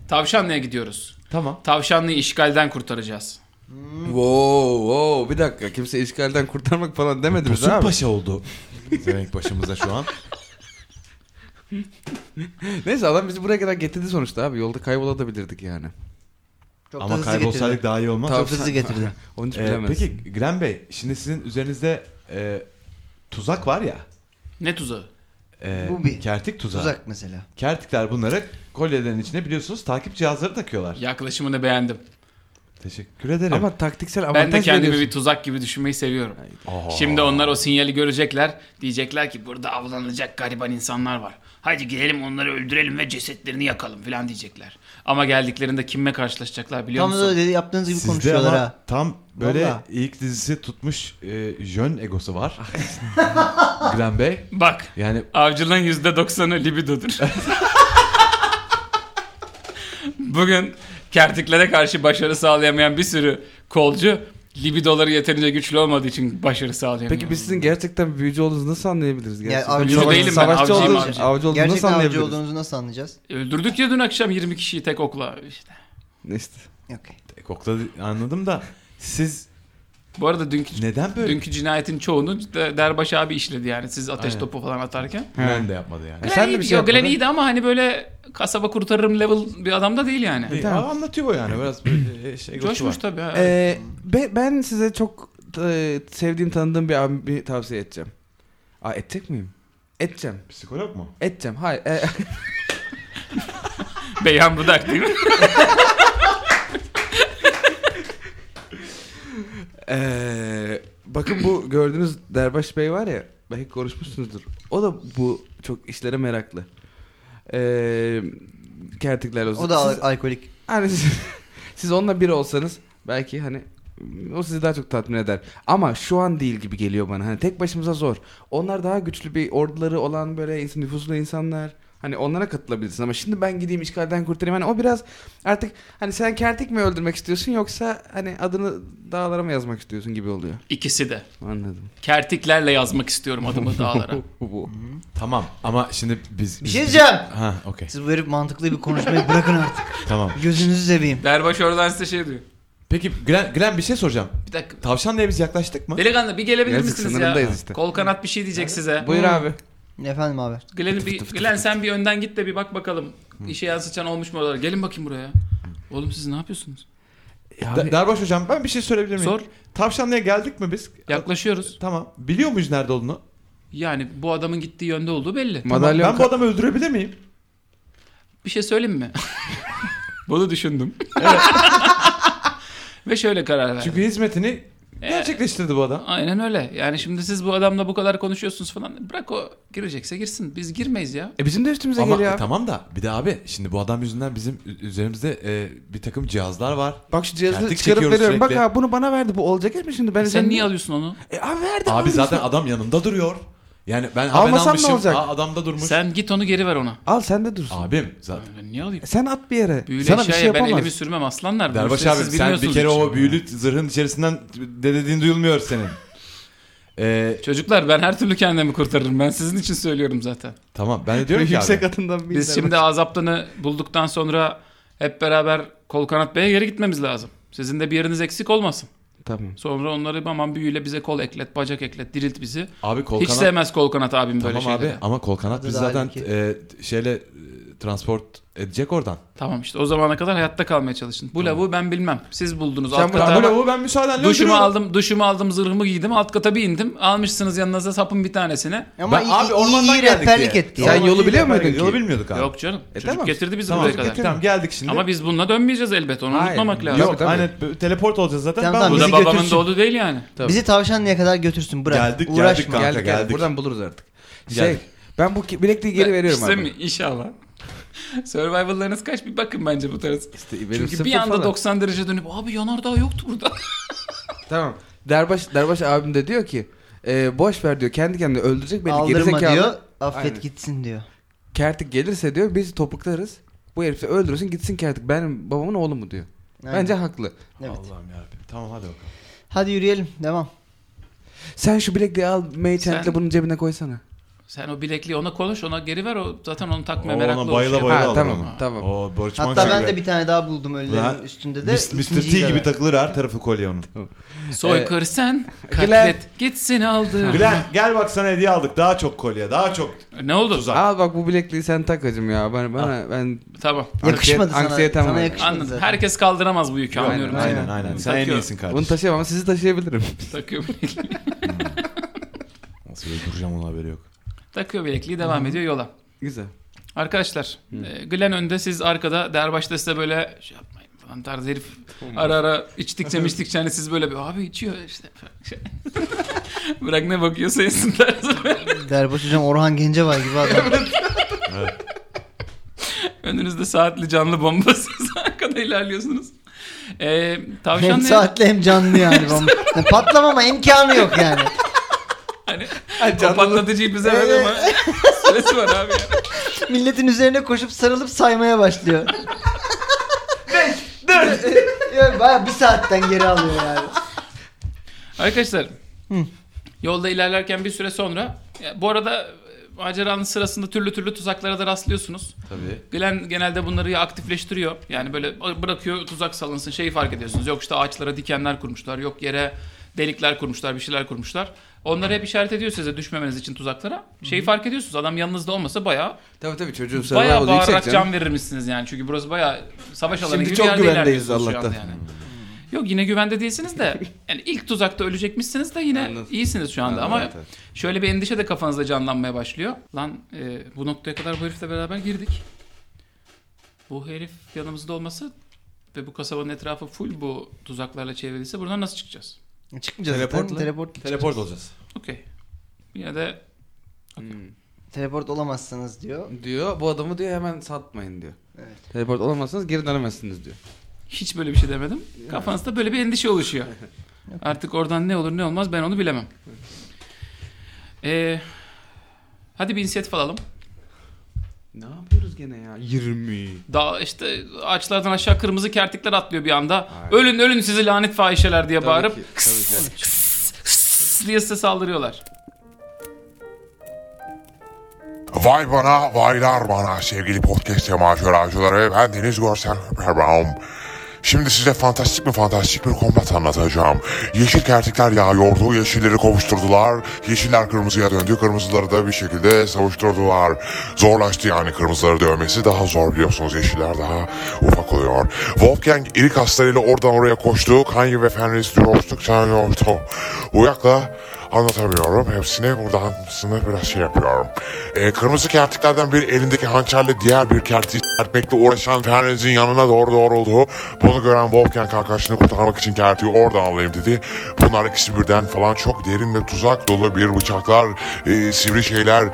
[SPEAKER 1] Tavşanlı'ya gidiyoruz.
[SPEAKER 5] Tamam.
[SPEAKER 1] Tavşanlı'yı işgalden kurtaracağız.
[SPEAKER 3] Hmm. Wow wow bir dakika kimse işgalden kurtarmak falan demedi bize
[SPEAKER 5] Tosun
[SPEAKER 3] abi.
[SPEAKER 5] Paşa oldu. Zeynep başımıza şu an.
[SPEAKER 3] Neyse adam bizi buraya kadar getirdi sonuçta abi yolda kaybolabilirdik yani.
[SPEAKER 2] Çok da
[SPEAKER 5] Ama
[SPEAKER 2] hızlı
[SPEAKER 5] kaybolsaydık
[SPEAKER 2] getirdi.
[SPEAKER 5] daha iyi olmaz.
[SPEAKER 2] Çok hızlı getirdi.
[SPEAKER 3] Onun için
[SPEAKER 5] Ee,
[SPEAKER 3] bilemez.
[SPEAKER 5] peki Gülen Bey şimdi sizin üzerinizde e, tuzak var ya.
[SPEAKER 1] Ne tuzağı?
[SPEAKER 5] e,
[SPEAKER 2] Bu bir
[SPEAKER 5] Kertik tuzağı.
[SPEAKER 2] Tuzak mesela.
[SPEAKER 5] Kertikler bunları kolyelerin içine biliyorsunuz takip cihazları takıyorlar.
[SPEAKER 1] Yaklaşımını beğendim.
[SPEAKER 5] Teşekkür ederim.
[SPEAKER 3] Ama taktiksel avantaj
[SPEAKER 1] Ben de kendimi
[SPEAKER 3] veriyorsun.
[SPEAKER 1] bir tuzak gibi düşünmeyi seviyorum.
[SPEAKER 5] Aa.
[SPEAKER 1] Şimdi onlar o sinyali görecekler. Diyecekler ki burada avlanacak gariban insanlar var. Hadi gidelim onları öldürelim ve cesetlerini yakalım falan diyecekler. Ama geldiklerinde kimle karşılaşacaklar biliyor
[SPEAKER 2] Tam
[SPEAKER 1] musun?
[SPEAKER 2] da dedi yaptığınız gibi
[SPEAKER 5] Sizde
[SPEAKER 2] konuşuyorlar
[SPEAKER 5] ama
[SPEAKER 2] ha.
[SPEAKER 5] tam böyle
[SPEAKER 2] Vallahi.
[SPEAKER 5] ilk dizisi tutmuş e, jön egosu var.
[SPEAKER 2] Ah.
[SPEAKER 5] Gülen Bey
[SPEAKER 1] Bak
[SPEAKER 5] yani
[SPEAKER 1] avcılığın %90'ı libidodur. Bugün kertiklere karşı başarı sağlayamayan bir sürü kolcu libidoları yeterince güçlü olmadığı için başarı sağlayamıyor.
[SPEAKER 3] Peki biz sizin gerçekten büyücü olduğunuzu nasıl anlayabiliriz? Gerçekten
[SPEAKER 2] avcı
[SPEAKER 3] savaş-
[SPEAKER 2] değilim ben,
[SPEAKER 3] Savaşçı
[SPEAKER 2] avcıyım
[SPEAKER 3] olduğunuzu,
[SPEAKER 1] avcı.
[SPEAKER 3] avcı olduğunuzu nasıl
[SPEAKER 2] Gerçekten
[SPEAKER 3] anlayabiliriz?
[SPEAKER 2] avcı olduğunuzu nasıl anlayacağız?
[SPEAKER 1] Öldürdük ya dün akşam 20 kişiyi tek okla işte.
[SPEAKER 3] İşte.
[SPEAKER 2] Okey.
[SPEAKER 5] kokla anladım da siz
[SPEAKER 1] Bu arada dünkü
[SPEAKER 5] neden böyle
[SPEAKER 1] Dünkü cinayetin çoğunu de- Derbaş abi işledi yani siz ateş
[SPEAKER 5] Aynen.
[SPEAKER 1] topu falan atarken.
[SPEAKER 5] Gülen de yapmadı yani.
[SPEAKER 3] E sen de bir
[SPEAKER 1] iyiydi.
[SPEAKER 3] şey
[SPEAKER 1] Yo, Glenn
[SPEAKER 3] yapmadın.
[SPEAKER 1] iyiydi ama hani böyle kasaba kurtarırım level bir adam da değil yani.
[SPEAKER 5] Değil.
[SPEAKER 3] E, Tamam.
[SPEAKER 5] Aa, anlatıyor o yani biraz böyle e, şey egosu var.
[SPEAKER 1] Coşmuş tabii. ha.
[SPEAKER 3] Ee, be- ben size çok e, sevdiğim tanıdığım bir abimi tavsiye edeceğim. Aa edecek miyim? Edeceğim.
[SPEAKER 5] Psikolog mu?
[SPEAKER 3] Edeceğim. Hayır. e-
[SPEAKER 1] Beyhan Budak değil mi?
[SPEAKER 3] Ee, bakın bu gördüğünüz Derbaş Bey var ya belki konuşmuşsunuzdur. O da bu çok işlere meraklı. Ee, kertikler olsun.
[SPEAKER 2] O da al-
[SPEAKER 3] siz,
[SPEAKER 2] alkolik.
[SPEAKER 3] hani siz, siz onunla bir olsanız belki hani o sizi daha çok tatmin eder. Ama şu an değil gibi geliyor bana. Hani tek başımıza zor. Onlar daha güçlü bir orduları olan böyle insan, nüfuzlu insanlar. Hani onlara katılabilirsin ama şimdi ben gideyim işgalden kurtarayım. Hani o biraz artık hani sen kertik mi öldürmek istiyorsun yoksa hani adını dağlara mı yazmak istiyorsun gibi oluyor.
[SPEAKER 1] İkisi de.
[SPEAKER 3] Anladım.
[SPEAKER 1] Kertiklerle yazmak istiyorum adımı dağlara.
[SPEAKER 3] Bu.
[SPEAKER 5] Tamam ama şimdi biz...
[SPEAKER 2] Bir
[SPEAKER 5] biz-
[SPEAKER 2] şey diyeceğim.
[SPEAKER 5] Ha okey
[SPEAKER 2] Siz bu herif mantıklı bir konuşmayı bırakın artık.
[SPEAKER 5] tamam.
[SPEAKER 2] Gözünüzü seveyim.
[SPEAKER 1] Derbaş oradan size şey diyor.
[SPEAKER 5] Peki Gülen, Gülen bir şey soracağım.
[SPEAKER 1] Bir dakika.
[SPEAKER 5] Tavşanlı'ya biz yaklaştık mı?
[SPEAKER 1] Delikanlı bir gelebilir
[SPEAKER 3] Yazık,
[SPEAKER 1] misiniz ya?
[SPEAKER 3] sınırındayız işte.
[SPEAKER 1] Kol kanat bir şey diyecek size.
[SPEAKER 3] Buyur abi.
[SPEAKER 2] Hmm. Efendim abi.
[SPEAKER 1] Glenn, bir, Glenn sen bir önden git de bir bak bakalım. İşe yansıtan olmuş mu oralar? Gelin bakayım buraya. Oğlum siz ne yapıyorsunuz?
[SPEAKER 5] Da- Derbaş hocam ben bir şey söyleyebilir miyim?
[SPEAKER 1] Sor.
[SPEAKER 5] Tavşanlı'ya geldik mi biz?
[SPEAKER 1] Yaklaşıyoruz.
[SPEAKER 5] Tamam. Biliyor muyuz nerede olduğunu?
[SPEAKER 1] Yani bu adamın gittiği yönde olduğu belli.
[SPEAKER 3] Madalyon
[SPEAKER 5] Tamam, Ben bu adamı öldürebilir miyim?
[SPEAKER 1] Bir şey söyleyeyim mi? Bunu düşündüm. Ve şöyle karar verdim.
[SPEAKER 5] Çünkü hizmetini gerçekleştirdi bu adam.
[SPEAKER 1] Aynen öyle. Yani şimdi siz bu adamla bu kadar konuşuyorsunuz falan. Bırak o girecekse girsin. Biz girmeyiz ya.
[SPEAKER 3] E bizim de üstümüze
[SPEAKER 5] Ama
[SPEAKER 3] geliyor. abi.
[SPEAKER 5] tamam da bir de abi şimdi bu adam yüzünden bizim ü- üzerimizde e, bir takım cihazlar var.
[SPEAKER 3] Bak şu cihazı
[SPEAKER 5] Kertik
[SPEAKER 3] çıkarıp
[SPEAKER 5] çekiyoruz
[SPEAKER 3] veriyorum. Bak
[SPEAKER 5] sürekli.
[SPEAKER 3] ha bunu bana verdi. Bu olacak iş mi şimdi? Ben
[SPEAKER 1] Sen niye alıyorsun onu?
[SPEAKER 3] E abi verdi
[SPEAKER 5] Abi zaten
[SPEAKER 3] al.
[SPEAKER 5] adam yanında duruyor. Yani ben ha, ben
[SPEAKER 3] Almasam ne
[SPEAKER 5] almışım.
[SPEAKER 3] olacak?
[SPEAKER 5] Aa, adamda durmuş.
[SPEAKER 1] Sen git onu geri ver ona.
[SPEAKER 3] Al sen de dursun.
[SPEAKER 5] Abim zaten.
[SPEAKER 1] Ben niye alayım?
[SPEAKER 3] E Sen at bir yere.
[SPEAKER 1] Büyülü
[SPEAKER 3] Sana bir
[SPEAKER 1] eşyaya
[SPEAKER 3] şey
[SPEAKER 1] ben
[SPEAKER 3] yapamaz.
[SPEAKER 1] elimi sürmem aslanlar. Bunu
[SPEAKER 5] Derbaş
[SPEAKER 1] siz
[SPEAKER 5] abi sen
[SPEAKER 1] bilmiyorsunuz
[SPEAKER 5] bir kere
[SPEAKER 1] hiç.
[SPEAKER 5] o büyülü zırhın içerisinden de dediğin duyulmuyor senin. Ee,
[SPEAKER 1] Çocuklar ben her türlü kendimi kurtarırım. Ben sizin için söylüyorum zaten.
[SPEAKER 5] tamam ben de diyorum ki
[SPEAKER 3] Yüksek
[SPEAKER 5] abi.
[SPEAKER 3] atından bir
[SPEAKER 1] Biz şimdi azaptanı bulduktan sonra hep beraber kol kanat beye geri gitmemiz lazım. Sizin de bir yeriniz eksik olmasın.
[SPEAKER 3] Tamam.
[SPEAKER 1] Sonra onları aman büyüyle bize kol eklet, bacak eklet, dirilt bizi.
[SPEAKER 5] Abi kol
[SPEAKER 1] Hiç
[SPEAKER 5] kanat.
[SPEAKER 1] sevmez kol kanat abim böyle
[SPEAKER 5] Tamam
[SPEAKER 1] şeyleri.
[SPEAKER 5] abi ama kol kanat
[SPEAKER 2] Adı
[SPEAKER 5] biz
[SPEAKER 2] da
[SPEAKER 5] zaten
[SPEAKER 2] halbuki.
[SPEAKER 5] e, şeyle e, transport edecek oradan.
[SPEAKER 1] Tamam işte o zamana kadar hayatta kalmaya çalışın. Bu lavuğu ben bilmem. Siz buldunuz.
[SPEAKER 3] Sen
[SPEAKER 1] alt
[SPEAKER 3] bu
[SPEAKER 1] kata
[SPEAKER 5] Tamam. bu ben müsaadenle
[SPEAKER 1] duşumu
[SPEAKER 5] oturuyorum.
[SPEAKER 1] aldım, duşumu aldım, zırhımı giydim. Alt kata bir indim. Almışsınız yanınıza sapın bir tanesini.
[SPEAKER 2] Ama
[SPEAKER 5] Ben-
[SPEAKER 2] iyi,
[SPEAKER 5] abi
[SPEAKER 2] abi,
[SPEAKER 5] ormandan
[SPEAKER 2] iyi
[SPEAKER 5] geldik
[SPEAKER 2] rehberlik
[SPEAKER 5] diye.
[SPEAKER 2] etti ya.
[SPEAKER 3] Sen
[SPEAKER 5] Tamam,
[SPEAKER 3] yolu
[SPEAKER 5] iyi,
[SPEAKER 3] biliyor muydun
[SPEAKER 5] Yolu
[SPEAKER 3] ki?
[SPEAKER 5] bilmiyorduk abi.
[SPEAKER 1] Yok canım. Çocuk
[SPEAKER 3] tamam.
[SPEAKER 1] getirdi bizi
[SPEAKER 5] Tamam,
[SPEAKER 1] buraya kadar.
[SPEAKER 5] tamam geldik şimdi.
[SPEAKER 1] Ama biz bununla dönmeyeceğiz elbet. Onu
[SPEAKER 3] Hayır.
[SPEAKER 1] unutmamak lazım.
[SPEAKER 5] Yok
[SPEAKER 3] Tabii, tabii.
[SPEAKER 5] aynen b- teleport olacağız zaten.
[SPEAKER 2] Tamam,
[SPEAKER 5] ben
[SPEAKER 2] tamam,
[SPEAKER 1] Bu
[SPEAKER 5] bizi
[SPEAKER 1] da babamın
[SPEAKER 5] götürsün.
[SPEAKER 1] doğlu değil yani.
[SPEAKER 2] Bizi tavşanlıya kadar götürsün bırak.
[SPEAKER 5] Geldik, geldik
[SPEAKER 2] Uğraşma.
[SPEAKER 5] kanka.
[SPEAKER 3] Geldik, geldik.
[SPEAKER 5] geldik.
[SPEAKER 3] Buradan buluruz artık. Şey
[SPEAKER 5] Geldik.
[SPEAKER 3] ben bu ki- bilekliği geri veriyorum
[SPEAKER 1] İşte
[SPEAKER 3] abi.
[SPEAKER 1] mi? İnşallah. Survival'larınız kaç bir bakın bence bu tarz.
[SPEAKER 3] İşte benim
[SPEAKER 1] Çünkü
[SPEAKER 3] sıfır
[SPEAKER 1] bir anda
[SPEAKER 3] falan.
[SPEAKER 1] 90 derece dönüp abi yanardağ yoktu burada.
[SPEAKER 3] Tamam. Derbaş, Derbaş abim de diyor ki e, boş ver diyor kendi kendine öldürecek beni
[SPEAKER 2] Aldırma
[SPEAKER 3] gerizekalı.
[SPEAKER 2] diyor. Affet
[SPEAKER 3] Aynen.
[SPEAKER 2] gitsin diyor.
[SPEAKER 3] Kertik gelirse diyor biz topuklarız. Bu herifi öldürürsün gitsin Kertik. Benim babamın oğlu mu diyor.
[SPEAKER 2] Aynen.
[SPEAKER 3] Bence haklı.
[SPEAKER 2] Evet.
[SPEAKER 5] Allah'ım yarabbim. Tamam hadi bakalım.
[SPEAKER 2] Hadi yürüyelim. Devam.
[SPEAKER 3] Sen şu bilekliği al May
[SPEAKER 1] Sen-
[SPEAKER 3] Chant'le bunun cebine koysana.
[SPEAKER 1] Sen o bilekliği ona konuş ona geri ver o zaten onu takmaya
[SPEAKER 5] Oo,
[SPEAKER 1] meraklı
[SPEAKER 5] ona
[SPEAKER 1] olan
[SPEAKER 5] bayıla
[SPEAKER 1] şey.
[SPEAKER 5] bayıla
[SPEAKER 3] Ha,
[SPEAKER 5] alırım
[SPEAKER 3] tamam,
[SPEAKER 5] ama.
[SPEAKER 3] tamam.
[SPEAKER 5] Oo, Borç
[SPEAKER 2] Hatta
[SPEAKER 5] Manço'ya
[SPEAKER 2] ben
[SPEAKER 5] göre.
[SPEAKER 2] de bir tane daha buldum
[SPEAKER 5] Ha,
[SPEAKER 2] öğlelerin üstünde de.
[SPEAKER 5] Mis- Mr.
[SPEAKER 2] ikinciyi
[SPEAKER 5] T gibi
[SPEAKER 2] görev.
[SPEAKER 5] takılır her tarafı kolye onun.
[SPEAKER 1] Soykır sen
[SPEAKER 3] Glenn.
[SPEAKER 1] katlet gitsin aldı.
[SPEAKER 5] Gülen gel bak sana hediye aldık. Daha çok kolye, daha çok
[SPEAKER 1] Ne oldu?
[SPEAKER 5] tuzak.
[SPEAKER 3] Al bak bu bilekliği sen tak hacım ya. Bana,
[SPEAKER 1] Ah.
[SPEAKER 3] bana ben
[SPEAKER 1] Tamam.
[SPEAKER 2] Yakışmadı sana.
[SPEAKER 3] Anksiyetem
[SPEAKER 2] sana
[SPEAKER 3] var.
[SPEAKER 2] yakışmadı
[SPEAKER 1] Anladım.
[SPEAKER 2] zaten.
[SPEAKER 1] Herkes kaldıramaz bu yükü
[SPEAKER 5] Aynen,
[SPEAKER 1] anlıyorum.
[SPEAKER 5] Aynen aynen.
[SPEAKER 3] Aynen.
[SPEAKER 5] Sen en
[SPEAKER 1] Takıyorum.
[SPEAKER 5] iyisin kardeşim.
[SPEAKER 3] bunu taşıyamam ama sizi taşıyabilirim.
[SPEAKER 1] Takıyor,
[SPEAKER 5] Nasıl öldüreceğim onun haberi yok.
[SPEAKER 1] takıyor bilekliği devam ediyor yola.
[SPEAKER 3] Güzel.
[SPEAKER 1] Arkadaşlar e, Glenn önde siz arkada Derbaş da size böyle şey yapmayın falan tarzı herif ara ara içtikçe içtikçe hani siz böyle bir abi içiyor işte. Bırak ne bakıyorsa yesin tarzı böyle.
[SPEAKER 2] Derbaş hocam Orhan Gencebay gibi adam.
[SPEAKER 1] Önünüzde saatli canlı bombasız arkada ilerliyorsunuz. E, tavşan
[SPEAKER 2] hem
[SPEAKER 1] ne?
[SPEAKER 2] saatli hem canlı yani. Bom- Yani Patlamama imkanı yok yani.
[SPEAKER 1] Hani, o patlatıcıyı bize ver ama süresi var abi ya.
[SPEAKER 2] Milletin üzerine koşup sarılıp saymaya başlıyor. Beş, dört. Yani Baya bir saatten geri alıyor yani.
[SPEAKER 1] Arkadaşlar yolda ilerlerken bir süre sonra ya bu arada e, maceranın sırasında türlü türlü tuzaklara da rastlıyorsunuz.
[SPEAKER 5] Tabii.
[SPEAKER 1] Glenn genelde bunları ya aktifleştiriyor. Yani böyle bırakıyor tuzak salınsın şeyi fark ediyorsunuz. Yok işte ağaçlara dikenler kurmuşlar. Yok yere delikler kurmuşlar bir şeyler kurmuşlar. Onları hep işaret ediyor size düşmemeniz için tuzaklara. Şeyi fark ediyorsunuz adam yanınızda olmasa bayağı
[SPEAKER 3] Tabii tabii çocuğun
[SPEAKER 1] bayağı
[SPEAKER 3] survival'ı yüksek
[SPEAKER 1] bağırarak
[SPEAKER 3] canım.
[SPEAKER 1] can verirmişsiniz yani. Çünkü burası bayağı savaş alanı
[SPEAKER 3] Şimdi
[SPEAKER 1] gibi
[SPEAKER 3] çok
[SPEAKER 1] bir yerde
[SPEAKER 3] güvendeyiz
[SPEAKER 1] ilerliyorsunuz şu anda
[SPEAKER 3] Allah'tan.
[SPEAKER 1] Yani. Yok yine güvende değilsiniz de yani ilk tuzakta ölecekmişsiniz de yine
[SPEAKER 3] Anladım.
[SPEAKER 1] iyisiniz şu anda ama
[SPEAKER 3] Evet, evet.
[SPEAKER 1] şöyle bir endişe de kafanızda canlanmaya başlıyor. Lan e, bu noktaya kadar bu herifle beraber girdik. Bu herif yanımızda olması ve bu kasabanın etrafı full bu tuzaklarla çevrilirse buradan nasıl çıkacağız?
[SPEAKER 2] Çıkmayacağız
[SPEAKER 5] Teleportla.
[SPEAKER 2] zaten. Teleport,
[SPEAKER 5] Teleport olacağız.
[SPEAKER 1] Okey. Yine de
[SPEAKER 2] teleport olamazsınız diyor.
[SPEAKER 3] Hmm. Diyor bu adamı diyor hemen satmayın diyor.
[SPEAKER 2] Evet.
[SPEAKER 3] Teleport olamazsanız geri dönemezsiniz diyor.
[SPEAKER 1] hiç böyle bir şey demedim. Kafanızda böyle bir endişe oluşuyor. Artık oradan ne olur ne olmaz ben onu bilemem. Ee, hadi bir inisiyatif alalım.
[SPEAKER 3] Ne yapıyoruz gene ya? 20.
[SPEAKER 1] Daha işte ağaçlardan aşağı kırmızı kertikler atlıyor bir anda. Ölün ölün sizi lanet fahişeler diye bağırıp
[SPEAKER 3] Tabii ki, tabii ki.
[SPEAKER 1] "Kıs" diye size saldırıyorlar.
[SPEAKER 6] Vay bana, vaylar bana sevgili podcast ve maceracıları. Ben Deniz Görsel Perbaum. Şimdi size fantastik mi fantastik bir kombat anlatacağım. Yeşil kertikler yağıyordu, yeşilleri kovuşturdular. Yeşiller kırmızıya döndü, kırmızıları da bir şekilde savuşturdular. Zorlaştı yani kırmızıları dövmesi daha zor biliyorsunuz. Yeşiller daha ufak oluyor. Wolfgang iri kaslarıyla oradan oraya koştu. Kanye ve Fenris dürostuk, çağırıyordu. Uyakla anlatamıyorum. Hepsini buradan sınır biraz şey yapıyorum. Ee, kırmızı kertiklerden biri elindeki hançerle diğer bir kertiği serpmekle uğraşan Fernandez'in yanına doğru doğruldu. Bunu gören Wolfgang arkadaşını kurtarmak için kertiği oradan alayım dedi. Bunlar ikisi birden falan çok derin ve tuzak dolu bir bıçaklar, e, sivri şeyler e,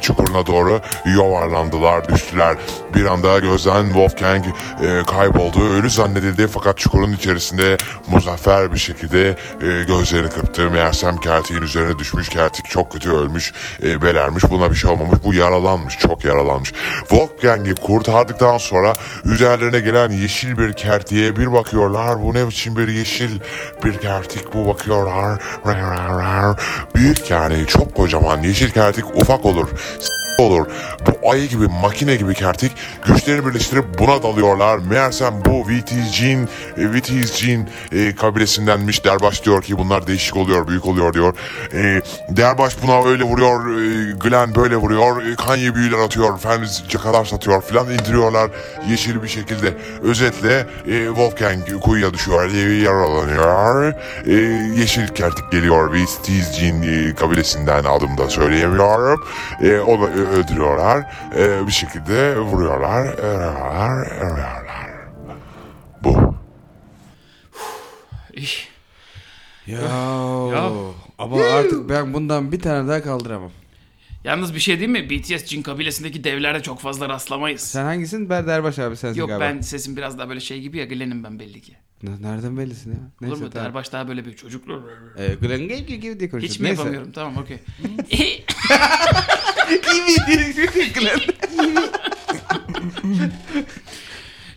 [SPEAKER 6] çukuruna doğru yuvarlandılar, düştüler. Bir anda gözden Wolfgang e, kayboldu. Ölü zannedildi fakat çukurun içerisinde muzaffer bir şekilde e, gözlerini kırptı. Meğersem kertiğin Kertik'in üzerine düşmüş. Kertik çok kötü ölmüş, e, belermiş. Buna bir şey olmamış. Bu yaralanmış, çok yaralanmış. Wolfgang'i kurtardıktan sonra üzerlerine gelen yeşil bir kertiğe bir bakıyorlar. Bu ne biçim bir yeşil bir kertik bu bakıyorlar. Rar, rar, rar. Büyük yani çok kocaman yeşil kertik ufak olur. S- olur. Bu ayı gibi makine gibi kertik güçlerini birleştirip buna dalıyorlar. Meğersem bu VTG'in e, VTG'in e, kabilesindenmiş. Derbaş diyor ki bunlar değişik oluyor, büyük oluyor diyor. E, Derbaş buna öyle vuruyor, e, Glenn böyle vuruyor, e, Kanye büyüler atıyor, Fenris cakalar satıyor filan indiriyorlar yeşil bir şekilde. Özetle e, Wolfgang kuyuya düşüyor, e, yaralanıyor. E, yeşil kertik geliyor VTG'in e, kabilesinden adımda da söyleyemiyorum. E, onu ö- öldürüyorlar, E, bir şekilde vuruyorlar, eriyorlar, eriyorlar. Bu.
[SPEAKER 1] İh.
[SPEAKER 3] Ya.
[SPEAKER 1] Ya.
[SPEAKER 3] Ama artık ben bundan bir tane daha kaldıramam.
[SPEAKER 1] Yalnız bir şey değil mi? BTS cin kabilesindeki devlerde çok fazla rastlamayız.
[SPEAKER 3] Sen hangisin? Berderbaş abi sensin
[SPEAKER 1] Yok
[SPEAKER 3] galiba.
[SPEAKER 1] ben sesim biraz daha böyle şey gibi ya Glenn'im ben belli ki.
[SPEAKER 3] N- Nereden bellisin ya?
[SPEAKER 1] Olur
[SPEAKER 3] Neyse
[SPEAKER 1] mu?
[SPEAKER 3] tamam.
[SPEAKER 1] Derbaş daha böyle bir çocuk.
[SPEAKER 3] Ee, Glenn Gay gibi diye konuşuyorsun.
[SPEAKER 1] Hiç mi
[SPEAKER 3] Neyse.
[SPEAKER 1] yapamıyorum? Tamam okey.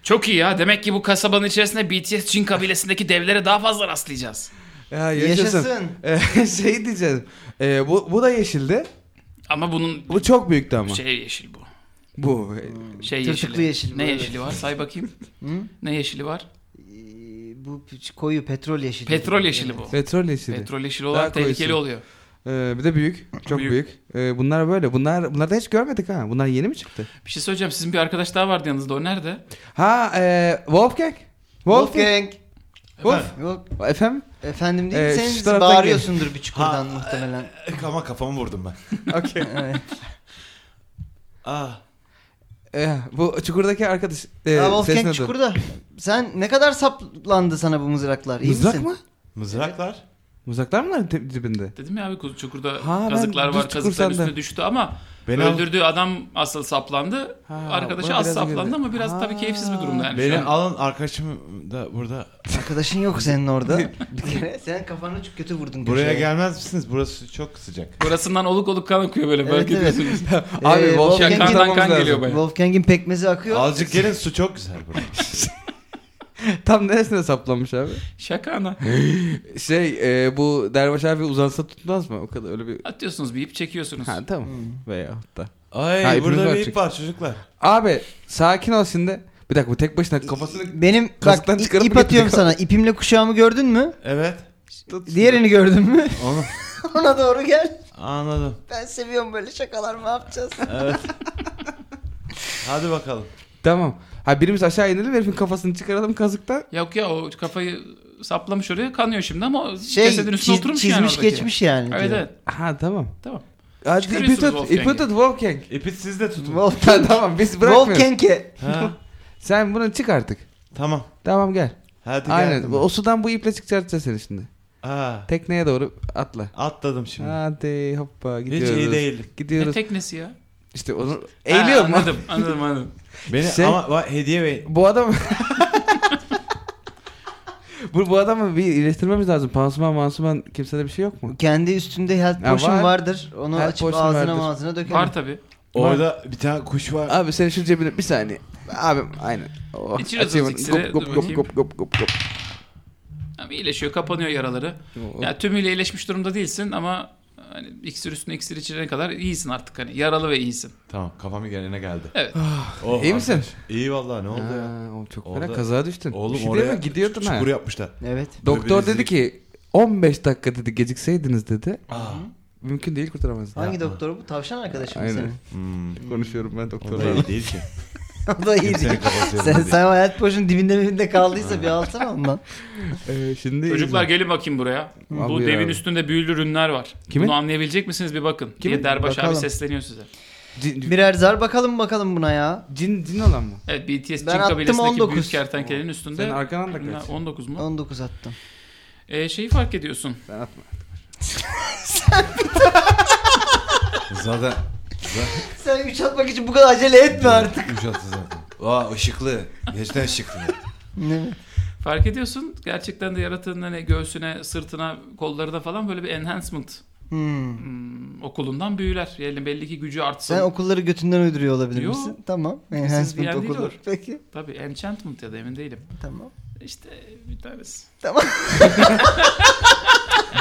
[SPEAKER 1] Çok iyi ya. Demek ki bu kasabanın içerisinde BTS Çin kabilesindeki devlere daha fazla rastlayacağız.
[SPEAKER 3] Ya yaşasın.
[SPEAKER 2] Yaşasın.
[SPEAKER 3] Ee, şey diyeceğim. Ee, bu, bu da yeşildi.
[SPEAKER 1] Ama bunun
[SPEAKER 3] Bu çok büyüktü ama.
[SPEAKER 1] şey yeşil bu.
[SPEAKER 3] Bu. e,
[SPEAKER 1] Şey
[SPEAKER 2] Tırtıklı
[SPEAKER 1] yeşili.
[SPEAKER 2] yeşil,
[SPEAKER 1] Ne
[SPEAKER 2] böyle.
[SPEAKER 1] yeşili var? Say bakayım. Ne yeşili var?
[SPEAKER 2] Ee, bu p- koyu petrol yeşili.
[SPEAKER 1] Petrol yeşili bu.
[SPEAKER 3] Petrol yeşili.
[SPEAKER 1] Petrol yeşili
[SPEAKER 3] Daha
[SPEAKER 1] olan
[SPEAKER 3] koyusu.
[SPEAKER 1] tehlikeli oluyor.
[SPEAKER 3] Ee, bir de büyük. Çok büyük.
[SPEAKER 1] Büyük.
[SPEAKER 3] Ee, bunlar böyle. Bunlar bunlar da hiç görmedik ha. Bunlar yeni mi çıktı?
[SPEAKER 1] Bir şey söyleyeceğim. Sizin bir arkadaş daha vardı yanınızda. O nerede?
[SPEAKER 3] Ha, e, Wolfgang.
[SPEAKER 2] Wolfgang.
[SPEAKER 3] Wolfgang. Wolf.
[SPEAKER 2] Yok
[SPEAKER 3] Efendim?
[SPEAKER 2] efendim değil
[SPEAKER 3] Ee,
[SPEAKER 2] mi?
[SPEAKER 3] şu
[SPEAKER 2] Sen
[SPEAKER 3] taraftan
[SPEAKER 2] bağırıyorsundur bir çukurdan muhtemelen.
[SPEAKER 5] Ama kafamı vurdum ben.
[SPEAKER 3] Okey.
[SPEAKER 2] Evet.
[SPEAKER 5] Ah.
[SPEAKER 3] Ee, bu çukurdaki arkadaş. E,
[SPEAKER 2] Aa,
[SPEAKER 3] sesini
[SPEAKER 2] Wolfgang
[SPEAKER 3] duyun.
[SPEAKER 2] çukurda. Sen ne kadar saplandı sana bu mızraklar? İyi
[SPEAKER 3] Mızrak
[SPEAKER 2] misin?
[SPEAKER 3] mı?
[SPEAKER 5] Mızraklar.
[SPEAKER 3] Mızraklar mı lan te- dibinde?
[SPEAKER 1] Dedim ya abi kuzu- çukurda
[SPEAKER 3] Ha, ben
[SPEAKER 1] kazıklar
[SPEAKER 3] düz
[SPEAKER 1] var.
[SPEAKER 3] çukur
[SPEAKER 1] Kazıkların
[SPEAKER 3] sandım.
[SPEAKER 1] üstüne düştü ama
[SPEAKER 5] Beni al-
[SPEAKER 1] öldürdüğü adam asıl saplandı.
[SPEAKER 3] Ha,
[SPEAKER 1] Arkadaşı
[SPEAKER 3] buna
[SPEAKER 1] az
[SPEAKER 3] biraz
[SPEAKER 1] saplandı
[SPEAKER 3] girdi.
[SPEAKER 1] ama biraz
[SPEAKER 3] Ha.
[SPEAKER 1] tabii keyifsiz bir durumda yani. şu
[SPEAKER 5] Beni
[SPEAKER 1] an.
[SPEAKER 5] alın arkadaşım da burada.
[SPEAKER 2] Arkadaşın yok senin orada. bir kere sen kafanı çok kötü vurdun.
[SPEAKER 5] Buraya
[SPEAKER 2] köşeye.
[SPEAKER 5] gelmez misiniz? Burası çok sıcak.
[SPEAKER 1] Burasından oluk oluk kan akıyor böyle fark
[SPEAKER 2] Evet, evet.
[SPEAKER 1] ediyorsunuz.
[SPEAKER 3] Abi
[SPEAKER 2] Ee,
[SPEAKER 3] Wolfgang'i
[SPEAKER 2] Wolfgang'in-
[SPEAKER 1] Şakandan
[SPEAKER 3] tanımamız
[SPEAKER 1] kan
[SPEAKER 3] lazım.
[SPEAKER 1] geliyor baya.
[SPEAKER 2] Wolfgang'in pekmezi akıyor.
[SPEAKER 5] Azıcık gelin su çok güzel burada.
[SPEAKER 3] Tam neresine saplanmış abi?
[SPEAKER 1] Şaka ana.
[SPEAKER 3] Şey e, bu derviş abi uzansa tutmaz mı? O kadar öyle bir... Hmm.
[SPEAKER 1] Atıyorsunuz bir ip çekiyorsunuz.
[SPEAKER 3] Ha tamam. Veya da.
[SPEAKER 5] Ay
[SPEAKER 3] Ha, ipimiz
[SPEAKER 5] burada
[SPEAKER 3] var
[SPEAKER 5] bir
[SPEAKER 3] çünkü.
[SPEAKER 5] ip var çocuklar.
[SPEAKER 3] Abi sakin ol şimdi. Bir dakika bu tek başına kafasını
[SPEAKER 2] Benim bak
[SPEAKER 3] Kazıktan
[SPEAKER 2] i-
[SPEAKER 3] çıkarıp
[SPEAKER 2] ip
[SPEAKER 3] getirdik
[SPEAKER 2] atıyorum
[SPEAKER 3] abi.
[SPEAKER 2] sana. İpimle kuşağımı gördün mü?
[SPEAKER 5] Evet.
[SPEAKER 3] tut.
[SPEAKER 2] Diğerini gördün mü?
[SPEAKER 5] Onu
[SPEAKER 2] Ona doğru gel.
[SPEAKER 5] anladım.
[SPEAKER 2] Ben seviyorum böyle şakalar ne yapacağız?
[SPEAKER 5] Hadi bakalım.
[SPEAKER 3] Tamam. Ha birimiz aşağı inelim herifin kafasını çıkaralım kazıktan.
[SPEAKER 1] Yok ya o kafayı saplamış oraya kanıyor şimdi ama o
[SPEAKER 2] Şey
[SPEAKER 1] cesedin üstüne
[SPEAKER 2] çiz-
[SPEAKER 1] oturmuş
[SPEAKER 2] çizmiş
[SPEAKER 1] yani oradaki.
[SPEAKER 2] geçmiş yani.
[SPEAKER 1] Evet
[SPEAKER 2] diyor.
[SPEAKER 1] evet
[SPEAKER 3] Ha tamam.
[SPEAKER 1] tamam.
[SPEAKER 3] Hadi ipi
[SPEAKER 1] Çıkarıyorsunuz
[SPEAKER 3] tut,
[SPEAKER 1] Wolfgang'i.
[SPEAKER 3] ipi tut Wolfgang.
[SPEAKER 5] İpi siz de tutun.
[SPEAKER 3] Ha,
[SPEAKER 2] Wolfgang.
[SPEAKER 3] tamam biz bırakmıyoruz.
[SPEAKER 2] Wolfgang'e.
[SPEAKER 5] Ha,
[SPEAKER 3] Sen bunu çık artık.
[SPEAKER 5] tamam.
[SPEAKER 3] Tamam gel.
[SPEAKER 5] Hadi
[SPEAKER 3] Aynen.
[SPEAKER 5] geldim.
[SPEAKER 3] O sudan bu iple çıkartacağız seni şimdi.
[SPEAKER 5] Ha,
[SPEAKER 3] Tekneye doğru atla.
[SPEAKER 5] atladım şimdi.
[SPEAKER 3] Hadi hoppa
[SPEAKER 5] Hiç
[SPEAKER 3] gidiyoruz.
[SPEAKER 5] iyi değilim.
[SPEAKER 1] Ne
[SPEAKER 3] Gidiyoruz.
[SPEAKER 1] teknesi ya?
[SPEAKER 3] İşte onu
[SPEAKER 1] E, Ha,
[SPEAKER 3] eğiliyor mu?
[SPEAKER 1] Anladım anladım anladım.
[SPEAKER 5] Beni
[SPEAKER 3] Şey-
[SPEAKER 5] ama va- hediye ver.
[SPEAKER 3] Bu adam... bu, bu adamı bir iyileştirmemiz lazım. Pansuman mansuman kimsede bir şey yok mu?
[SPEAKER 2] Kendi üstünde health
[SPEAKER 3] Ya
[SPEAKER 2] potion
[SPEAKER 3] var.
[SPEAKER 2] vardır. Onu
[SPEAKER 3] Health
[SPEAKER 2] açıp
[SPEAKER 3] potion
[SPEAKER 2] ağzına
[SPEAKER 3] vardır.
[SPEAKER 2] ağzına dökelim.
[SPEAKER 1] Var tabi.
[SPEAKER 5] Orada bir tane kuş var.
[SPEAKER 3] Abi senin şu cebine bir saniye. Abi aynen. Oh,
[SPEAKER 1] İçiyoruz
[SPEAKER 3] açayım.
[SPEAKER 1] o iksiri,
[SPEAKER 3] Gop,
[SPEAKER 1] dur
[SPEAKER 3] gop,
[SPEAKER 1] bakayım.
[SPEAKER 3] gop, gop, gop, gop.
[SPEAKER 1] Ama iyileşiyor kapanıyor yaraları.
[SPEAKER 3] Oh.
[SPEAKER 1] Ya tümüyle iyileşmiş durumda değilsin ama hani iksir üstüne iksir içirene kadar iyisin artık hani yaralı ve iyisin.
[SPEAKER 5] Tamam kafamın yerine geldi.
[SPEAKER 1] Evet.
[SPEAKER 5] Oh,
[SPEAKER 3] İyi misin?
[SPEAKER 5] arkadaş. İyi vallahi ne oldu ya?
[SPEAKER 3] Aa, oğlum çok
[SPEAKER 5] Orada-
[SPEAKER 3] fena kaza düştün.
[SPEAKER 5] Oğlum
[SPEAKER 3] Bir şey değil
[SPEAKER 5] oraya
[SPEAKER 3] mi? Gidiyordun
[SPEAKER 5] çu-
[SPEAKER 3] ha.
[SPEAKER 5] çukur yapmışlar.
[SPEAKER 2] Evet.
[SPEAKER 3] Doktor dedi
[SPEAKER 5] Böbreğinizi-
[SPEAKER 3] ki 15 dakika dedi gecikseydiniz dedi.
[SPEAKER 5] Aa.
[SPEAKER 3] Mümkün değil kurtaramaz.
[SPEAKER 2] Hangi doktor bu? Tavşan arkadaşım mı
[SPEAKER 3] Aynen.
[SPEAKER 2] senin?
[SPEAKER 5] Hmm.
[SPEAKER 3] Konuşuyorum ben
[SPEAKER 5] O da
[SPEAKER 3] doktorla.
[SPEAKER 5] iyi değil ki.
[SPEAKER 2] o da iyi
[SPEAKER 5] Kimsenin
[SPEAKER 2] değil.
[SPEAKER 5] kafası
[SPEAKER 2] Sen,
[SPEAKER 5] yerinde değil.
[SPEAKER 2] sen o health potion dibinde dibinde kaldıysa bir alsana ondan.
[SPEAKER 3] Ee, şimdi
[SPEAKER 1] Çocuklar gelin bakayım buraya. Bu
[SPEAKER 3] buyur
[SPEAKER 1] devin
[SPEAKER 3] abi.
[SPEAKER 1] üstünde büyülü ürünler var.
[SPEAKER 3] Kimin?
[SPEAKER 1] Bunu anlayabilecek misiniz bir bakın.
[SPEAKER 3] Kimin?
[SPEAKER 1] Diye Derbaş
[SPEAKER 2] Bakalım.
[SPEAKER 1] abi sesleniyor size.
[SPEAKER 3] cin,
[SPEAKER 2] Birer zar bakalım bakalım buna ya.
[SPEAKER 3] cin, cin olan mı?
[SPEAKER 1] Evet BTS
[SPEAKER 2] Ben
[SPEAKER 1] Çin
[SPEAKER 2] attım
[SPEAKER 1] kabilesindeki
[SPEAKER 2] 19.
[SPEAKER 1] büyük kertenkelenin üstünde.
[SPEAKER 3] Sen arkadan da kaç.
[SPEAKER 1] 19 mu?
[SPEAKER 2] 19 attım.
[SPEAKER 1] Ee, şeyi fark ediyorsun.
[SPEAKER 3] Ben atma.
[SPEAKER 5] Zaten
[SPEAKER 2] Sen 3 atmak için bu kadar acele etme artık.
[SPEAKER 5] kuş attı zaten. Aa ışıklı. Gerçekten ışıklı.
[SPEAKER 2] Evet.
[SPEAKER 1] Fark ediyorsun gerçekten de yaratığın hani göğsüne, sırtına, kollarına falan böyle bir enhancement
[SPEAKER 2] Hmm.
[SPEAKER 1] Okulundan büyüler. Yani belli ki gücü artsın.
[SPEAKER 2] Sen okulları götünden uyduruyor olabilir
[SPEAKER 1] Yo.
[SPEAKER 2] misin? Tamam.
[SPEAKER 1] Siz bir
[SPEAKER 2] Enhancement
[SPEAKER 1] yer değil
[SPEAKER 2] okulu.
[SPEAKER 1] olur.
[SPEAKER 2] Peki.
[SPEAKER 1] Tabii enchantment ya da emin değilim.
[SPEAKER 2] Tamam.
[SPEAKER 1] İşte bir tanesi.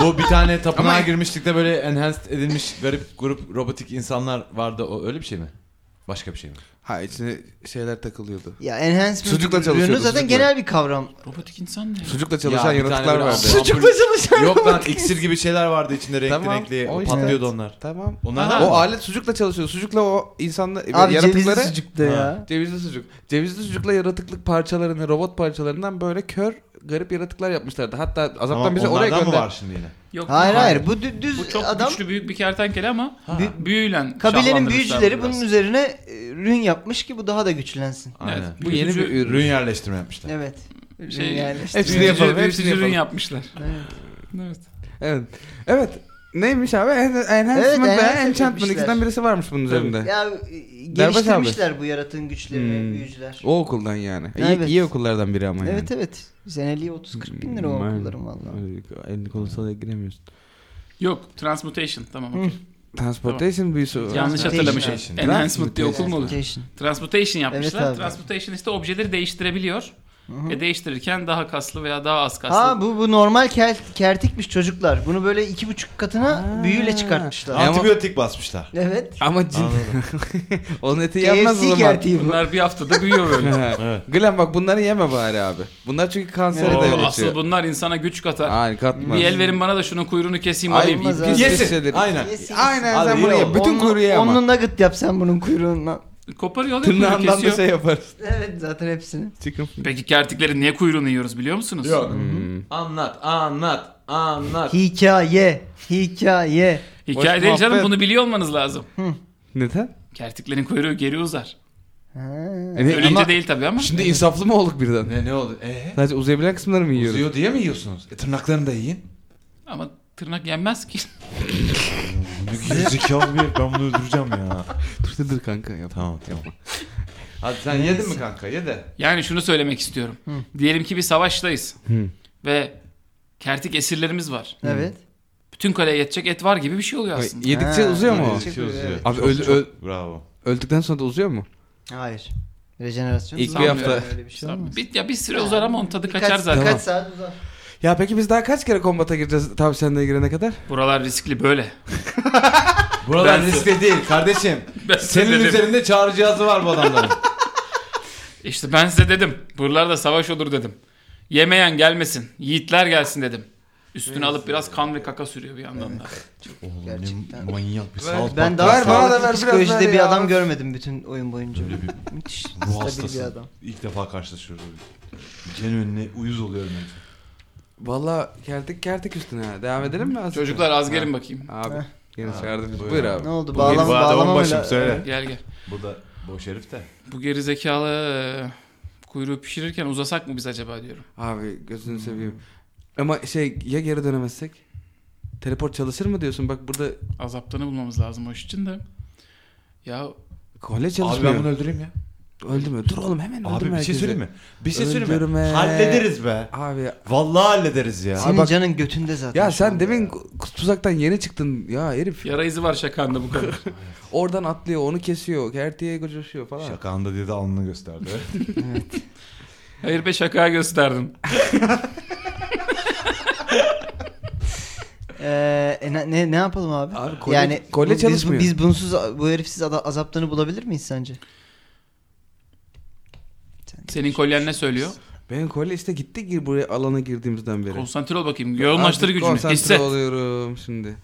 [SPEAKER 5] Bu bir tane tapınağa girmiştik de böyle enhanced edilmiş garip grup robotik insanlar vardı. O öyle bir şey mi? Başka bir şey mi?
[SPEAKER 3] Ha içine şeyler takılıyordu.
[SPEAKER 2] Ya enhancement
[SPEAKER 3] Sucukla
[SPEAKER 2] ürünü
[SPEAKER 3] çalışıyordu,
[SPEAKER 2] zaten
[SPEAKER 3] sucukla.
[SPEAKER 2] genel bir kavram.
[SPEAKER 1] Robotik insan ne?
[SPEAKER 3] Sucukla çalışan
[SPEAKER 5] Ya bir tane
[SPEAKER 3] yaratıklar
[SPEAKER 5] böyle
[SPEAKER 3] vardı.
[SPEAKER 5] ampul-
[SPEAKER 2] Sucukla çalışan
[SPEAKER 5] Yok lan iksir gibi şeyler vardı içinde renkli
[SPEAKER 3] Tamam,
[SPEAKER 5] renkli.
[SPEAKER 3] o işte.
[SPEAKER 5] Patlıyordu onlar.
[SPEAKER 3] Tamam.
[SPEAKER 5] Onlar
[SPEAKER 1] Aha.
[SPEAKER 5] da
[SPEAKER 3] O
[SPEAKER 5] mı?
[SPEAKER 3] alet sucukla çalışıyor. Sucukla o insanla
[SPEAKER 2] Abi
[SPEAKER 3] yaratıkları
[SPEAKER 2] cevizli sucukta
[SPEAKER 5] Ha.
[SPEAKER 2] ya.
[SPEAKER 3] Cevizli sucuk. Cevizli sucukla yaratıklık parçalarını, robot parçalarından böyle kör garip yaratıklar yapmışlardı. Hatta azaptan
[SPEAKER 5] Tamam,
[SPEAKER 3] bize oraya
[SPEAKER 5] onlardan
[SPEAKER 3] gönder.
[SPEAKER 5] mı var şimdi yine?
[SPEAKER 1] Yok.
[SPEAKER 2] Hayır hayır bu dü- düz
[SPEAKER 1] Bu çok
[SPEAKER 2] adam
[SPEAKER 1] güçlü büyük bir kertenkele ama
[SPEAKER 2] Bü-
[SPEAKER 1] büyüyle
[SPEAKER 2] kabilenin
[SPEAKER 1] şahlandırmışlar
[SPEAKER 2] büyücüleri
[SPEAKER 1] biraz.
[SPEAKER 2] bunun üzerine e, ürün yapmış ki bu daha da güçlensin.
[SPEAKER 1] Evet,
[SPEAKER 5] Aynen.
[SPEAKER 3] Bu yeni bir
[SPEAKER 1] büyütücü-
[SPEAKER 3] ürün.
[SPEAKER 5] Ürün yerleştirme yapmışlar.
[SPEAKER 2] Evet. Ürün
[SPEAKER 1] Şey,
[SPEAKER 2] yerleştirme.
[SPEAKER 3] Hepsini
[SPEAKER 1] büyütücü-
[SPEAKER 3] yapalım, hepsini
[SPEAKER 1] büyütücü ürün
[SPEAKER 3] yapalım.
[SPEAKER 1] yapmışlar.
[SPEAKER 2] Evet.
[SPEAKER 1] Evet.
[SPEAKER 3] Evet. Evet. Neymiş abi? En- Enhancement
[SPEAKER 2] enhancement
[SPEAKER 3] veya enchantment
[SPEAKER 2] etmişler.
[SPEAKER 3] ikisinden birisi varmış bunun üzerinde.
[SPEAKER 2] Ya e, geliştirmişler bu yaratığın güçlerini
[SPEAKER 3] Hmm.
[SPEAKER 2] büyücüler.
[SPEAKER 3] O okuldan yani. İyi,
[SPEAKER 2] Evet.
[SPEAKER 3] iyi okullardan biri ama yani.
[SPEAKER 2] Evet evet. Seneliği 30-40 bin lira o
[SPEAKER 3] Hmm,
[SPEAKER 2] okulların valla.
[SPEAKER 3] öyle Elini kolunu salaya giremiyorsun.
[SPEAKER 1] Yok, transmutation tamam
[SPEAKER 2] Hı.
[SPEAKER 1] okey.
[SPEAKER 3] Transportation büyüsü.
[SPEAKER 1] Yanlış hatırlamışım.
[SPEAKER 5] Transmutation.
[SPEAKER 1] Enhancement diye okul mu olur?
[SPEAKER 2] Location.
[SPEAKER 1] Transmutation yapmışlar.
[SPEAKER 2] Evet abi.
[SPEAKER 1] Transmutation işte objeleri değiştirebiliyor.
[SPEAKER 2] hı.
[SPEAKER 1] E değiştirirken daha kaslı veya daha az kaslı.
[SPEAKER 2] Ha bu bu normal kel, kertikmiş çocuklar. Bunu böyle iki buçuk katına
[SPEAKER 3] Ha.
[SPEAKER 2] büyüyle çıkartmışlar.
[SPEAKER 3] Ama-
[SPEAKER 5] Antibiyotik basmışlar.
[SPEAKER 2] Evet.
[SPEAKER 3] Ama cin. Onun eti yenmez
[SPEAKER 2] KFC
[SPEAKER 3] o zaman.
[SPEAKER 2] kertiği bu.
[SPEAKER 1] Bunlar bir haftada büyüyor böyle.
[SPEAKER 5] Evet.
[SPEAKER 3] Glen bak bunları yeme bari abi. Bunlar çünkü kansere
[SPEAKER 2] Evet.
[SPEAKER 1] Oo,
[SPEAKER 3] de
[SPEAKER 1] asıl
[SPEAKER 3] geçiyor.
[SPEAKER 1] bunlar insana güç katar.
[SPEAKER 3] Hayır katmaz.
[SPEAKER 1] Bir el verin bana da şunun kuyruğunu keseyim
[SPEAKER 3] Ay,
[SPEAKER 1] alayım.
[SPEAKER 2] olmaz
[SPEAKER 1] Bir-
[SPEAKER 2] abi.
[SPEAKER 5] Yesin.
[SPEAKER 3] Yesin.
[SPEAKER 5] Aynen.
[SPEAKER 2] Yesin.
[SPEAKER 3] Aynen
[SPEAKER 5] Abi
[SPEAKER 3] sen
[SPEAKER 5] iyi
[SPEAKER 3] bunu
[SPEAKER 5] oldu.
[SPEAKER 3] ye. Bütün
[SPEAKER 2] Onlu-
[SPEAKER 3] kuyruğu ye ama.
[SPEAKER 2] Onlu nugget yap sen bunun kuyruğundan.
[SPEAKER 1] Koparıyor alıyor kuyruğu
[SPEAKER 3] Tırnağından da
[SPEAKER 1] kesiyor.
[SPEAKER 3] şey yaparız.
[SPEAKER 2] Evet zaten hepsini.
[SPEAKER 3] Chicken
[SPEAKER 1] Peki kertiklerin niye kuyruğunu yiyoruz biliyor musunuz?
[SPEAKER 5] Anlat, anlat, anlat.
[SPEAKER 2] Hikaye. Hikaye.
[SPEAKER 1] Hikaye
[SPEAKER 3] Boş
[SPEAKER 1] değil canım
[SPEAKER 3] muhabbet.
[SPEAKER 1] bunu biliyor olmanız lazım.
[SPEAKER 3] Neden?
[SPEAKER 1] Kertiklerin kuyruğu geri uzar.
[SPEAKER 2] Ha.
[SPEAKER 3] Yani
[SPEAKER 1] Ölünce
[SPEAKER 3] E, ama
[SPEAKER 1] değil tabii ama.
[SPEAKER 3] Şimdi insaflı mı olduk birden?
[SPEAKER 5] Ne ne oldu? Ee?
[SPEAKER 3] Sadece uzayabilen kısımları mı yiyoruz?
[SPEAKER 5] Uzuyor diye mi yiyorsunuz? E, tırnaklarını da yiyin.
[SPEAKER 1] Ama tırnak yenmez ki.
[SPEAKER 5] Zekalı bir ben bunu öldüreceğim ya.
[SPEAKER 3] Dur dur, dur kanka yap.
[SPEAKER 5] Tamam tamam. Hadi sen yedin mi kanka? Ye de.
[SPEAKER 1] Yani şunu söylemek istiyorum. Diyelim ki bir savaştayız. Ve kertik esirlerimiz var.
[SPEAKER 2] Evet.
[SPEAKER 1] Bütün kaleye yetecek et var gibi bir şey oluyor aslında.
[SPEAKER 3] Yedikçe
[SPEAKER 2] Ha,
[SPEAKER 3] uzuyor mu? o?
[SPEAKER 2] yedikçe- Evet.
[SPEAKER 3] Abi öl- öl-
[SPEAKER 5] Bravo.
[SPEAKER 3] öldükten sonra da uzuyor mu?
[SPEAKER 2] Hayır. Rejenerasyon.
[SPEAKER 3] İlk bir
[SPEAKER 2] Sanmıyorum
[SPEAKER 3] hafta.
[SPEAKER 2] Öyle bir şey olmaz.
[SPEAKER 1] Bir, ya bir süre uzar ama onun tadı
[SPEAKER 2] Birkaç-
[SPEAKER 1] kaçar zaten.
[SPEAKER 2] Birkaç saat uzar.
[SPEAKER 3] Ya peki biz daha kaç kere kombata gireceğiz tavşenliğe girene kadar?
[SPEAKER 1] Buralar riskli böyle.
[SPEAKER 5] Buralar
[SPEAKER 1] Ben-
[SPEAKER 5] riskli değil kardeşim.
[SPEAKER 1] Ben size
[SPEAKER 5] Senin
[SPEAKER 1] dedim.
[SPEAKER 5] üzerinde çağrı cihazı var bu adamların.
[SPEAKER 1] İşte ben size dedim. Buralarda savaş olur dedim. Yemeyen gelmesin. Yiğitler gelsin dedim. Üstüne alıp biraz kan ve kaka sürüyor bir yandan da.
[SPEAKER 2] Gerçekten.
[SPEAKER 5] manyak bir
[SPEAKER 2] Ben
[SPEAKER 3] Ver,
[SPEAKER 2] daha
[SPEAKER 3] bana da ver,
[SPEAKER 2] sağlıklı
[SPEAKER 3] biraz ver
[SPEAKER 2] psikolojide bir
[SPEAKER 3] ya.
[SPEAKER 2] adam görmedim bütün oyun boyunca. Müthiş.
[SPEAKER 5] ruh
[SPEAKER 2] Stabil bir
[SPEAKER 5] hastası.
[SPEAKER 2] adam.
[SPEAKER 5] İlk defa karşılaşıyoruz. Ülkenin önüne uyuz oluyorum.
[SPEAKER 3] Valla kertik kertik üstüne. ha. Devam edelim mi? aslında?
[SPEAKER 1] Çocuklar az gelin bakayım.
[SPEAKER 3] Abi.
[SPEAKER 2] Ha.
[SPEAKER 3] Yine
[SPEAKER 5] Ha,
[SPEAKER 3] çağırdınız.
[SPEAKER 5] buyur.
[SPEAKER 3] Buyur, abi.
[SPEAKER 2] Ne oldu?
[SPEAKER 5] Bu
[SPEAKER 2] Bağlam,
[SPEAKER 5] geri- bu arada
[SPEAKER 2] bağlama
[SPEAKER 5] onbaşım,
[SPEAKER 2] öyle-
[SPEAKER 5] söyle.
[SPEAKER 1] Gel gel.
[SPEAKER 5] Bu da boş herif de.
[SPEAKER 1] Bu geri zekalı kuyruğu pişirirken uzasak mı biz acaba diyorum.
[SPEAKER 3] Abi gözünü seveyim. Ama şey ya geri dönemezsek? Teleport çalışır mı diyorsun? Bak burada
[SPEAKER 1] Azaptanı bulmamız lazım o iş için de. Ya
[SPEAKER 3] kolye
[SPEAKER 5] Abi
[SPEAKER 3] çalışmıyor.
[SPEAKER 5] ben bunu öldüreyim ya.
[SPEAKER 3] Öldü mü? Dur oğlum hemen
[SPEAKER 5] Abi
[SPEAKER 3] öldürme
[SPEAKER 5] bir şey
[SPEAKER 3] herkesi.
[SPEAKER 5] söyleyeyim mi? Bir şey söyleyeyim mi?
[SPEAKER 3] Öldürme.
[SPEAKER 5] Hallederiz be.
[SPEAKER 3] Abi
[SPEAKER 5] Vallahi hallederiz ya.
[SPEAKER 2] Senin
[SPEAKER 3] bak-
[SPEAKER 2] canın götünde zaten.
[SPEAKER 3] ya
[SPEAKER 2] şu
[SPEAKER 3] sen
[SPEAKER 2] anda
[SPEAKER 3] demin
[SPEAKER 2] ya.
[SPEAKER 3] ku- tuzaktan yeni çıktın ya herif.
[SPEAKER 1] yara izi var şakanda bu kadar.
[SPEAKER 3] Oradan atlıyor onu kesiyor. Kertiye koşuyor falan.
[SPEAKER 5] Şakağında diye de alnını gösterdi.
[SPEAKER 1] Hayır be şaka gösterdin.
[SPEAKER 2] Ee, e, ne- ne ne yapalım abi?
[SPEAKER 3] Abi kolye-
[SPEAKER 2] yani
[SPEAKER 3] kolye
[SPEAKER 2] bu- biz,
[SPEAKER 3] çalışmıyor.
[SPEAKER 2] Biz bunsuz bu herifsiz ada- azaptanı bulabilir miyiz sence?
[SPEAKER 1] Senin kolyen ne söylüyor?
[SPEAKER 3] Benim kolye işte gitti gir buraya alana girdiğimizden beri.
[SPEAKER 1] Konsantre ol bakayım. Yoğunlaştır
[SPEAKER 3] Artık
[SPEAKER 1] gücünü.
[SPEAKER 3] Konsantre
[SPEAKER 1] Hisset.
[SPEAKER 3] oluyorum şimdi.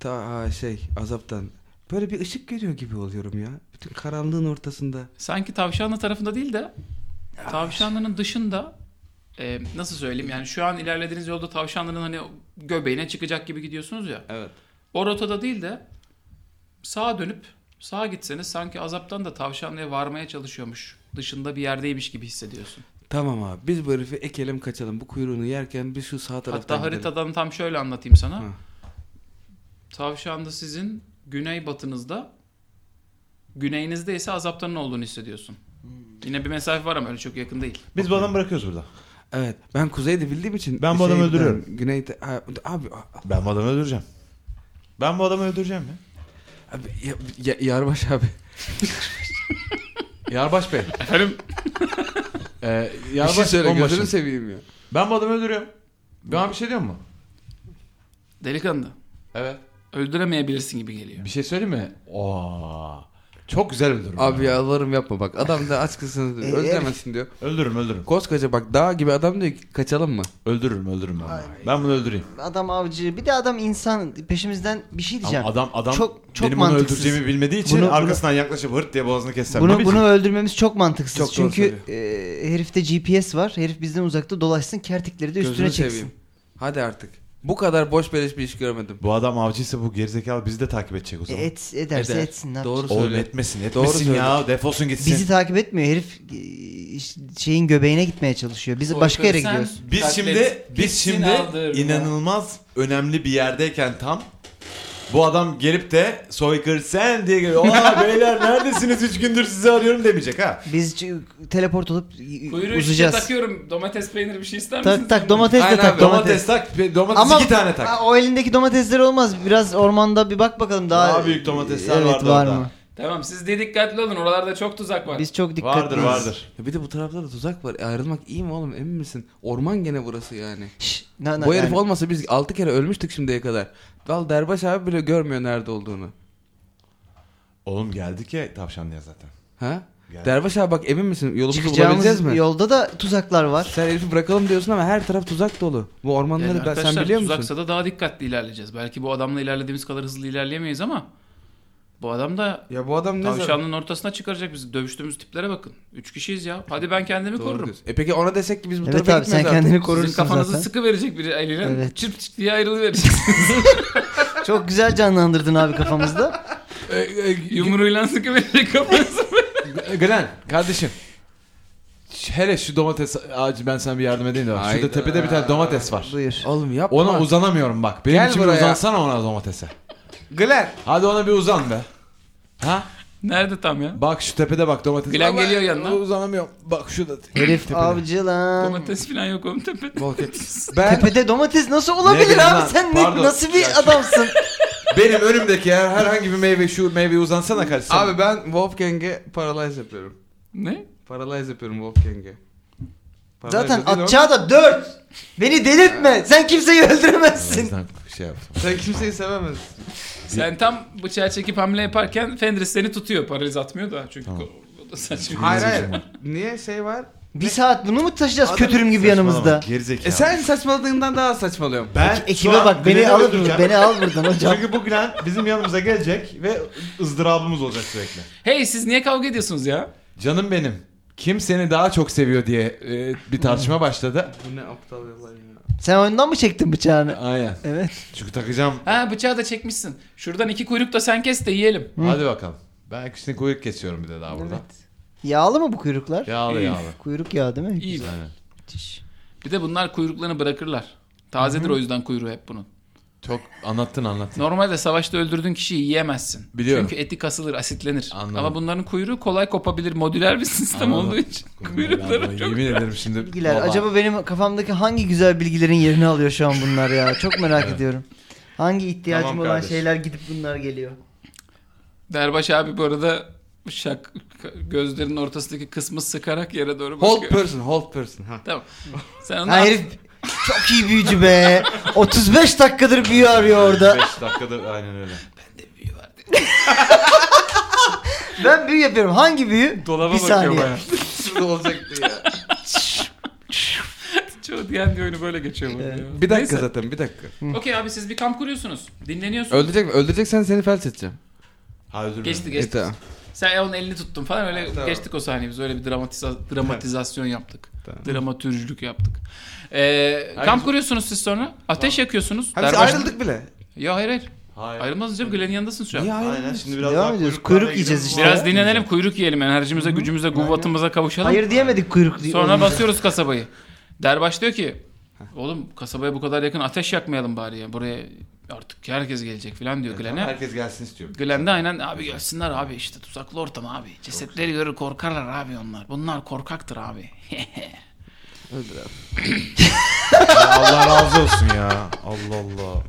[SPEAKER 3] Ta ha, şey azaptan. Böyle bir ışık görüyor gibi oluyorum ya. Bütün karanlığın ortasında.
[SPEAKER 1] Sanki tavşanlı tarafında değil de tavşanlının dışında e, nasıl söyleyeyim yani şu an ilerlediğiniz yolda tavşanlının hani göbeğine çıkacak gibi gidiyorsunuz ya.
[SPEAKER 3] Evet.
[SPEAKER 1] O rotada değil de sağa dönüp sağa gitseniz sanki azaptan da tavşanlıya varmaya çalışıyormuş. Dışında bir yerdeymiş gibi hissediyorsun.
[SPEAKER 3] Tamam abi biz bu herifi ekelim kaçalım. Bu kuyruğunu yerken biz şu sağ taraftan
[SPEAKER 1] Hatta
[SPEAKER 3] gidelim.
[SPEAKER 1] haritadan tam şöyle anlatayım sana.
[SPEAKER 3] Hı.
[SPEAKER 1] Tavşanda sizin güneybatınızda, güneyinizde ise azaptanın olduğunu hissediyorsun.
[SPEAKER 3] Hmm.
[SPEAKER 1] Yine bir mesafe var ama öyle çok yakın değil.
[SPEAKER 5] Biz bu adamı bırakıyoruz burada.
[SPEAKER 3] Evet. Ben kuzeyde bildiğim için. şey
[SPEAKER 5] Ben bu adamı
[SPEAKER 3] şeyden,
[SPEAKER 5] öldürüyorum.
[SPEAKER 3] Güneyde. Ha, Abi a-
[SPEAKER 5] Ben bu adamı öldüreceğim. Ben bu adamı öldüreceğim ya.
[SPEAKER 3] Abi, ya, ya- Yarbaş abi.
[SPEAKER 5] Yarbaş Bey.
[SPEAKER 1] Efendim
[SPEAKER 5] Ee,
[SPEAKER 3] Bir
[SPEAKER 5] yarbaş
[SPEAKER 3] şey söyle
[SPEAKER 5] onbaşı.
[SPEAKER 3] gözünü seveyim ya.
[SPEAKER 5] Ben bu adamı öldürüyorum. Ben bir şey diyor mu?
[SPEAKER 1] delikanlı
[SPEAKER 5] Evet.
[SPEAKER 1] öldüremeyebilirsin gibi geliyor.
[SPEAKER 5] Bir şey söyleyeyim mi? Oo. Çok güzel öldürürüm.
[SPEAKER 3] Abi
[SPEAKER 5] ya.
[SPEAKER 3] yalvarırım yapma bak. Adam da aç kızsın
[SPEAKER 5] Ee,
[SPEAKER 2] E,
[SPEAKER 3] öldüremezsin diyor.
[SPEAKER 5] Öldürürüm öldürürüm.
[SPEAKER 3] Koskoca bak dağ gibi adam diyor ki kaçalım mı?
[SPEAKER 5] Öldürürüm öldürürüm. Ben, ben bunu öldüreyim.
[SPEAKER 2] Adam avcı bir de adam insan peşimizden bir şey
[SPEAKER 5] Ama
[SPEAKER 2] diyeceğim.
[SPEAKER 5] adam adam
[SPEAKER 2] çok çok
[SPEAKER 5] benim onu
[SPEAKER 2] mantıksız.
[SPEAKER 5] öldüreceğimi bilmediği için
[SPEAKER 2] Bunu- bunu-
[SPEAKER 5] arkasından yaklaşıp hırt diye boğazını kessem.
[SPEAKER 2] bunu
[SPEAKER 5] Tabii
[SPEAKER 2] bunu
[SPEAKER 5] ki.
[SPEAKER 2] öldürmemiz çok mantıksız.
[SPEAKER 3] şey- Çok doğru
[SPEAKER 2] Çünkü e, herifte GPS var. Herif bizden uzakta dolaşsın, kertikleri de üstüne
[SPEAKER 3] Gözünü
[SPEAKER 2] çeksin.
[SPEAKER 3] seveyim. Hadi artık. Bu kadar boş beleş bir iş görmedim.
[SPEAKER 5] bu adam avcıysa bu gerizekalı bizi de takip edecek o
[SPEAKER 2] E,
[SPEAKER 5] zaman.
[SPEAKER 2] Et ederse
[SPEAKER 3] Eder.
[SPEAKER 2] etsin. ne yapacak?
[SPEAKER 3] Doğru
[SPEAKER 5] Oğlum
[SPEAKER 3] söyle.
[SPEAKER 5] etmesin
[SPEAKER 3] Doğru
[SPEAKER 5] etmesin
[SPEAKER 3] söyle.
[SPEAKER 5] ya defolsun gitsin.
[SPEAKER 2] Bizi takip etmiyor herif e, şeyin göbeğine gitmeye çalışıyor. Bizi başka yere
[SPEAKER 1] Soykırı sen
[SPEAKER 2] gidiyoruz.
[SPEAKER 1] katlet
[SPEAKER 5] Biz şimdi biz
[SPEAKER 1] gitsin
[SPEAKER 5] şimdi
[SPEAKER 1] aldırma.
[SPEAKER 5] inanılmaz önemli bir yerdeyken tam bu adam gelip de soykır sen diye geliyor. Aa beyler neredesiniz 3 gündür sizi arıyorum demeyecek ha.
[SPEAKER 2] Biz ç- teleport olup y-
[SPEAKER 1] Kuyruğu işte
[SPEAKER 2] uzayacağız.
[SPEAKER 1] şey takıyorum. Domates peyniri bir şey ister misin?
[SPEAKER 2] Tak tak domates de
[SPEAKER 3] Aynen
[SPEAKER 2] tak
[SPEAKER 3] abi,
[SPEAKER 5] Domates,
[SPEAKER 2] domates.
[SPEAKER 5] tak pe- domates
[SPEAKER 2] Ama
[SPEAKER 5] iki tane tak.
[SPEAKER 2] Aa, o elindeki domatesler olmaz. Biraz ormanda bir bak bakalım daha.
[SPEAKER 5] Daha büyük domatesler
[SPEAKER 2] evet,
[SPEAKER 5] vardı
[SPEAKER 2] var
[SPEAKER 5] orada.
[SPEAKER 2] mı?
[SPEAKER 1] Tamam siz de dikkatli olun. Oralarda çok tuzak var.
[SPEAKER 2] Biz çok dikkatliyiz.
[SPEAKER 5] vardır vardır.
[SPEAKER 3] Ya bir de bu taraflarda tuzak var. E, ayrılmak iyi mi oğlum emin misin? Orman gene burası yani.
[SPEAKER 2] Şşş, na, na,
[SPEAKER 3] Bu herif
[SPEAKER 2] yani.
[SPEAKER 3] olmasa biz 6 kere ölmüştük şimdiye kadar. Val Derbaş abi bile görmüyor nerede olduğunu.
[SPEAKER 5] Oğlum geldik ya tavşanlıya zaten.
[SPEAKER 3] Ha?
[SPEAKER 5] Yani-
[SPEAKER 3] Derbaş abi bak emin misin yolumuzu bulabileceğiz
[SPEAKER 2] Çıkacağımız
[SPEAKER 3] mi?
[SPEAKER 2] yolda da tuzaklar var.
[SPEAKER 3] Sen herifi bırakalım diyorsun ama her taraf tuzak dolu. Bu
[SPEAKER 1] Yani
[SPEAKER 3] ormanları ben, sen
[SPEAKER 1] arkadaşlar,
[SPEAKER 3] biliyor musun?
[SPEAKER 1] Tuzaksa da daha dikkatli ilerleyeceğiz. Belki bu adamla ilerlediğimiz kadar hızlı ilerleyemeyiz ama bu adam da
[SPEAKER 3] Ya bu adam ne zaman-
[SPEAKER 1] tavşanlığın ortasına çıkaracak bizi. Dövüştüğümüz tiplere bakın. Üç kişiyiz ya. Hadi ben kendimi
[SPEAKER 3] Doğru
[SPEAKER 1] korurum.
[SPEAKER 3] diyorsun. E peki ona desek ki biz bu
[SPEAKER 2] Evet
[SPEAKER 3] tarafa
[SPEAKER 2] abi sen
[SPEAKER 3] gitmiyoruz artık.
[SPEAKER 2] kendini
[SPEAKER 1] Sizin
[SPEAKER 2] korursun
[SPEAKER 1] kafanızı
[SPEAKER 2] zaten.
[SPEAKER 1] sıkı verecek biri eliyle.
[SPEAKER 2] Evet.
[SPEAKER 1] Çırp çırp diye ayrılıvereceksiniz.
[SPEAKER 2] Çok güzel canlandırdın abi kafamızda.
[SPEAKER 1] Yumruğuyla sıkı verecek kafanızı.
[SPEAKER 5] Glen kardeşim. Hele şu domates ağacı ben sana bir yardım edeyim de bak. Şurada
[SPEAKER 3] Hayda.
[SPEAKER 5] tepede bir tane domates var.
[SPEAKER 2] Buyur.
[SPEAKER 3] Oğlum yapma.
[SPEAKER 5] Ona uzanamıyorum bak. Benim
[SPEAKER 3] Gel
[SPEAKER 5] için bir
[SPEAKER 3] buraya.
[SPEAKER 5] uzansana ona domatese.
[SPEAKER 3] Glen.
[SPEAKER 5] Hadi ona bir uzan be. Ha?
[SPEAKER 1] Nerede tam ya?
[SPEAKER 5] Bak şu tepede bak domates.
[SPEAKER 1] Glen
[SPEAKER 5] Ama
[SPEAKER 1] geliyor yanına.
[SPEAKER 5] Uzanamıyorum. Bak şurada.
[SPEAKER 2] Herif avcı lan.
[SPEAKER 1] Domates falan yok oğlum tepede.
[SPEAKER 3] Ben
[SPEAKER 2] Tepede domates nasıl olabilir
[SPEAKER 5] bileyim
[SPEAKER 2] abi
[SPEAKER 5] lan,
[SPEAKER 2] sen ne,
[SPEAKER 5] pardon.
[SPEAKER 2] nasıl bir
[SPEAKER 5] Ya şu-
[SPEAKER 2] adamsın?
[SPEAKER 5] Benim önümdeki her, herhangi bir meyve şu meyveye uzansana kardeşim.
[SPEAKER 3] abi ben Wolfgang'e paralyze yapıyorum.
[SPEAKER 1] ne?
[SPEAKER 3] Paralyze yapıyorum Wolfgang'e. Paralyze
[SPEAKER 2] Zaten
[SPEAKER 3] değil ama-
[SPEAKER 2] atacağı da dört. Beni delirtme. Sen kimseyi öldüremezsin.
[SPEAKER 5] Sen şey yaptım.
[SPEAKER 3] Sen kimseyi sevemezsin.
[SPEAKER 1] Sen tam bıçağı çekip hamle yaparken Fenris seni tutuyor. Paraliz atmıyor da çünkü o- o da saçma.
[SPEAKER 3] Hayır hayır. Niye şey var?
[SPEAKER 2] Bir saat bunu mu taşıyacağız
[SPEAKER 3] Adam-
[SPEAKER 2] kötürüm gibi yanımızda?
[SPEAKER 5] Gerizekalı.
[SPEAKER 3] E sen saçmaladığından daha saçmalıyorum.
[SPEAKER 5] ben
[SPEAKER 2] Ekibe bak beni alır mı? Beni al buradan hocam.
[SPEAKER 5] Çünkü bu Glen bizim yanımıza gelecek ve ızdırabımız olacak sürekli.
[SPEAKER 1] Hey siz niye kavga ediyorsunuz ya?
[SPEAKER 5] Canım benim. Kim seni daha çok seviyor diye e, bir tartışma başladı.
[SPEAKER 3] Bu ne aptal yalan ya.
[SPEAKER 2] Sen oyundan mı çektin bıçağını?
[SPEAKER 5] Aynen.
[SPEAKER 2] Evet.
[SPEAKER 5] Çünkü takacağım.
[SPEAKER 1] Ha bıçağı da çekmişsin. Şuradan iki kuyruk da sen kes de yiyelim.
[SPEAKER 5] Hadi bakalım. Ben ikisini kuyruk kesiyorum bir de daha burada.
[SPEAKER 2] Yağlı mı bu kuyruklar?
[SPEAKER 5] Yağlı yağlı.
[SPEAKER 2] Kuyruk yağı değil mi?
[SPEAKER 1] İyi.
[SPEAKER 5] Aynen.
[SPEAKER 1] Bir de bunlar kuyruklarını bırakırlar. Tazedir o yüzden kuyruğu hep bunun.
[SPEAKER 5] Çok anlattın anlattın.
[SPEAKER 1] Normalde savaşta öldürdüğün kişiyi yiyemezsin.
[SPEAKER 5] Biliyorum.
[SPEAKER 1] Çünkü eti kasılır, asitlenir.
[SPEAKER 5] Anladım.
[SPEAKER 1] Ama bunların kuyruğu kolay kopabilir. Modüler bir sistem
[SPEAKER 5] Anladım.
[SPEAKER 1] olduğu için.
[SPEAKER 5] Ben
[SPEAKER 1] Kuyrukları çok...
[SPEAKER 5] Yemin ederim şimdi.
[SPEAKER 2] Bilgiler.
[SPEAKER 5] Vallahi.
[SPEAKER 2] Acaba benim kafamdaki hangi güzel bilgilerin yerini alıyor şu an bunlar ya? Çok merak ediyorum. Hangi ihtiyacım
[SPEAKER 5] Tamam
[SPEAKER 2] olan
[SPEAKER 5] kardeşim.
[SPEAKER 2] şeyler gidip bunlar geliyor.
[SPEAKER 1] Derbaş abi bu arada şak gözlerinin ortasındaki kısmı sıkarak yere doğru bakıyor.
[SPEAKER 3] Hold person, hold person. Ha.
[SPEAKER 1] Tamam. Sen onu
[SPEAKER 2] Ha herif çok iyi büyücü be. 35 dakikadır büyü arıyor orada.
[SPEAKER 5] 5 dakikada aynen öyle.
[SPEAKER 2] Ben büyü yapıyorum. Hangi büyü?
[SPEAKER 1] Dolaba
[SPEAKER 2] bir saniye.
[SPEAKER 1] bakıyor
[SPEAKER 3] Şurada olacaktı ya.
[SPEAKER 1] Çoğu D&D oyunu böyle geçiyor. bu
[SPEAKER 2] Evet.
[SPEAKER 1] ya.
[SPEAKER 3] Ee, Bir dakika
[SPEAKER 1] Neyse.
[SPEAKER 3] zaten bir dakika.
[SPEAKER 1] Okey abi siz bir kamp kuruyorsunuz. Dinleniyorsunuz.
[SPEAKER 3] Öldürecek mi? Öldüreceksen seni felç edeceğim.
[SPEAKER 5] Ha özür dilerim.
[SPEAKER 1] Geçti
[SPEAKER 3] E
[SPEAKER 1] geçti.
[SPEAKER 3] tamam.
[SPEAKER 1] Sen onun elini tuttun falan öyle
[SPEAKER 3] Tamam.
[SPEAKER 1] geçtik o sahneyi biz öyle bir dramatiza- dramatizasyon yaptık.
[SPEAKER 3] Tamam.
[SPEAKER 1] Dramatürcülük yaptık. Ee, kamp kuruyorsunuz siz sonra. Ateş yakıyorsunuz.
[SPEAKER 3] Hadi biz
[SPEAKER 1] Derbaş-
[SPEAKER 3] ayrıldık bile.
[SPEAKER 1] Ya hayır hayır.
[SPEAKER 5] Hayır.
[SPEAKER 1] Ayrılmazsınız canım. Glen'in yanındasın şu an.
[SPEAKER 3] Niye
[SPEAKER 5] Aynen
[SPEAKER 3] ayrıldın?
[SPEAKER 5] şimdi biraz
[SPEAKER 2] Devam
[SPEAKER 5] daha
[SPEAKER 2] ediyoruz.
[SPEAKER 5] kuyruklara
[SPEAKER 2] Kuyruk yiyeceğiz
[SPEAKER 5] girelim.
[SPEAKER 2] işte.
[SPEAKER 1] Biraz dinlenelim kuyruk yiyelim. Enerjimize, gücümüze, kuvvetimize kavuşalım.
[SPEAKER 2] Hayır diyemedik kuyruk diye.
[SPEAKER 1] Sonra
[SPEAKER 2] olunca.
[SPEAKER 1] basıyoruz kasabayı. Derbaş diyor ki oğlum kasabaya bu kadar yakın ateş yakmayalım bari ya. Buraya artık herkes gelecek falan diyor Glen'e.
[SPEAKER 5] Herkes gelsin istiyorum.
[SPEAKER 1] Glen de aynen abi gelsinler abi işte tuzaklı ortam abi. Cesetleri görür korkarlar abi onlar. Bunlar korkaktır abi.
[SPEAKER 3] Öldür abi.
[SPEAKER 5] Allah razı olsun ya. Allah Allah.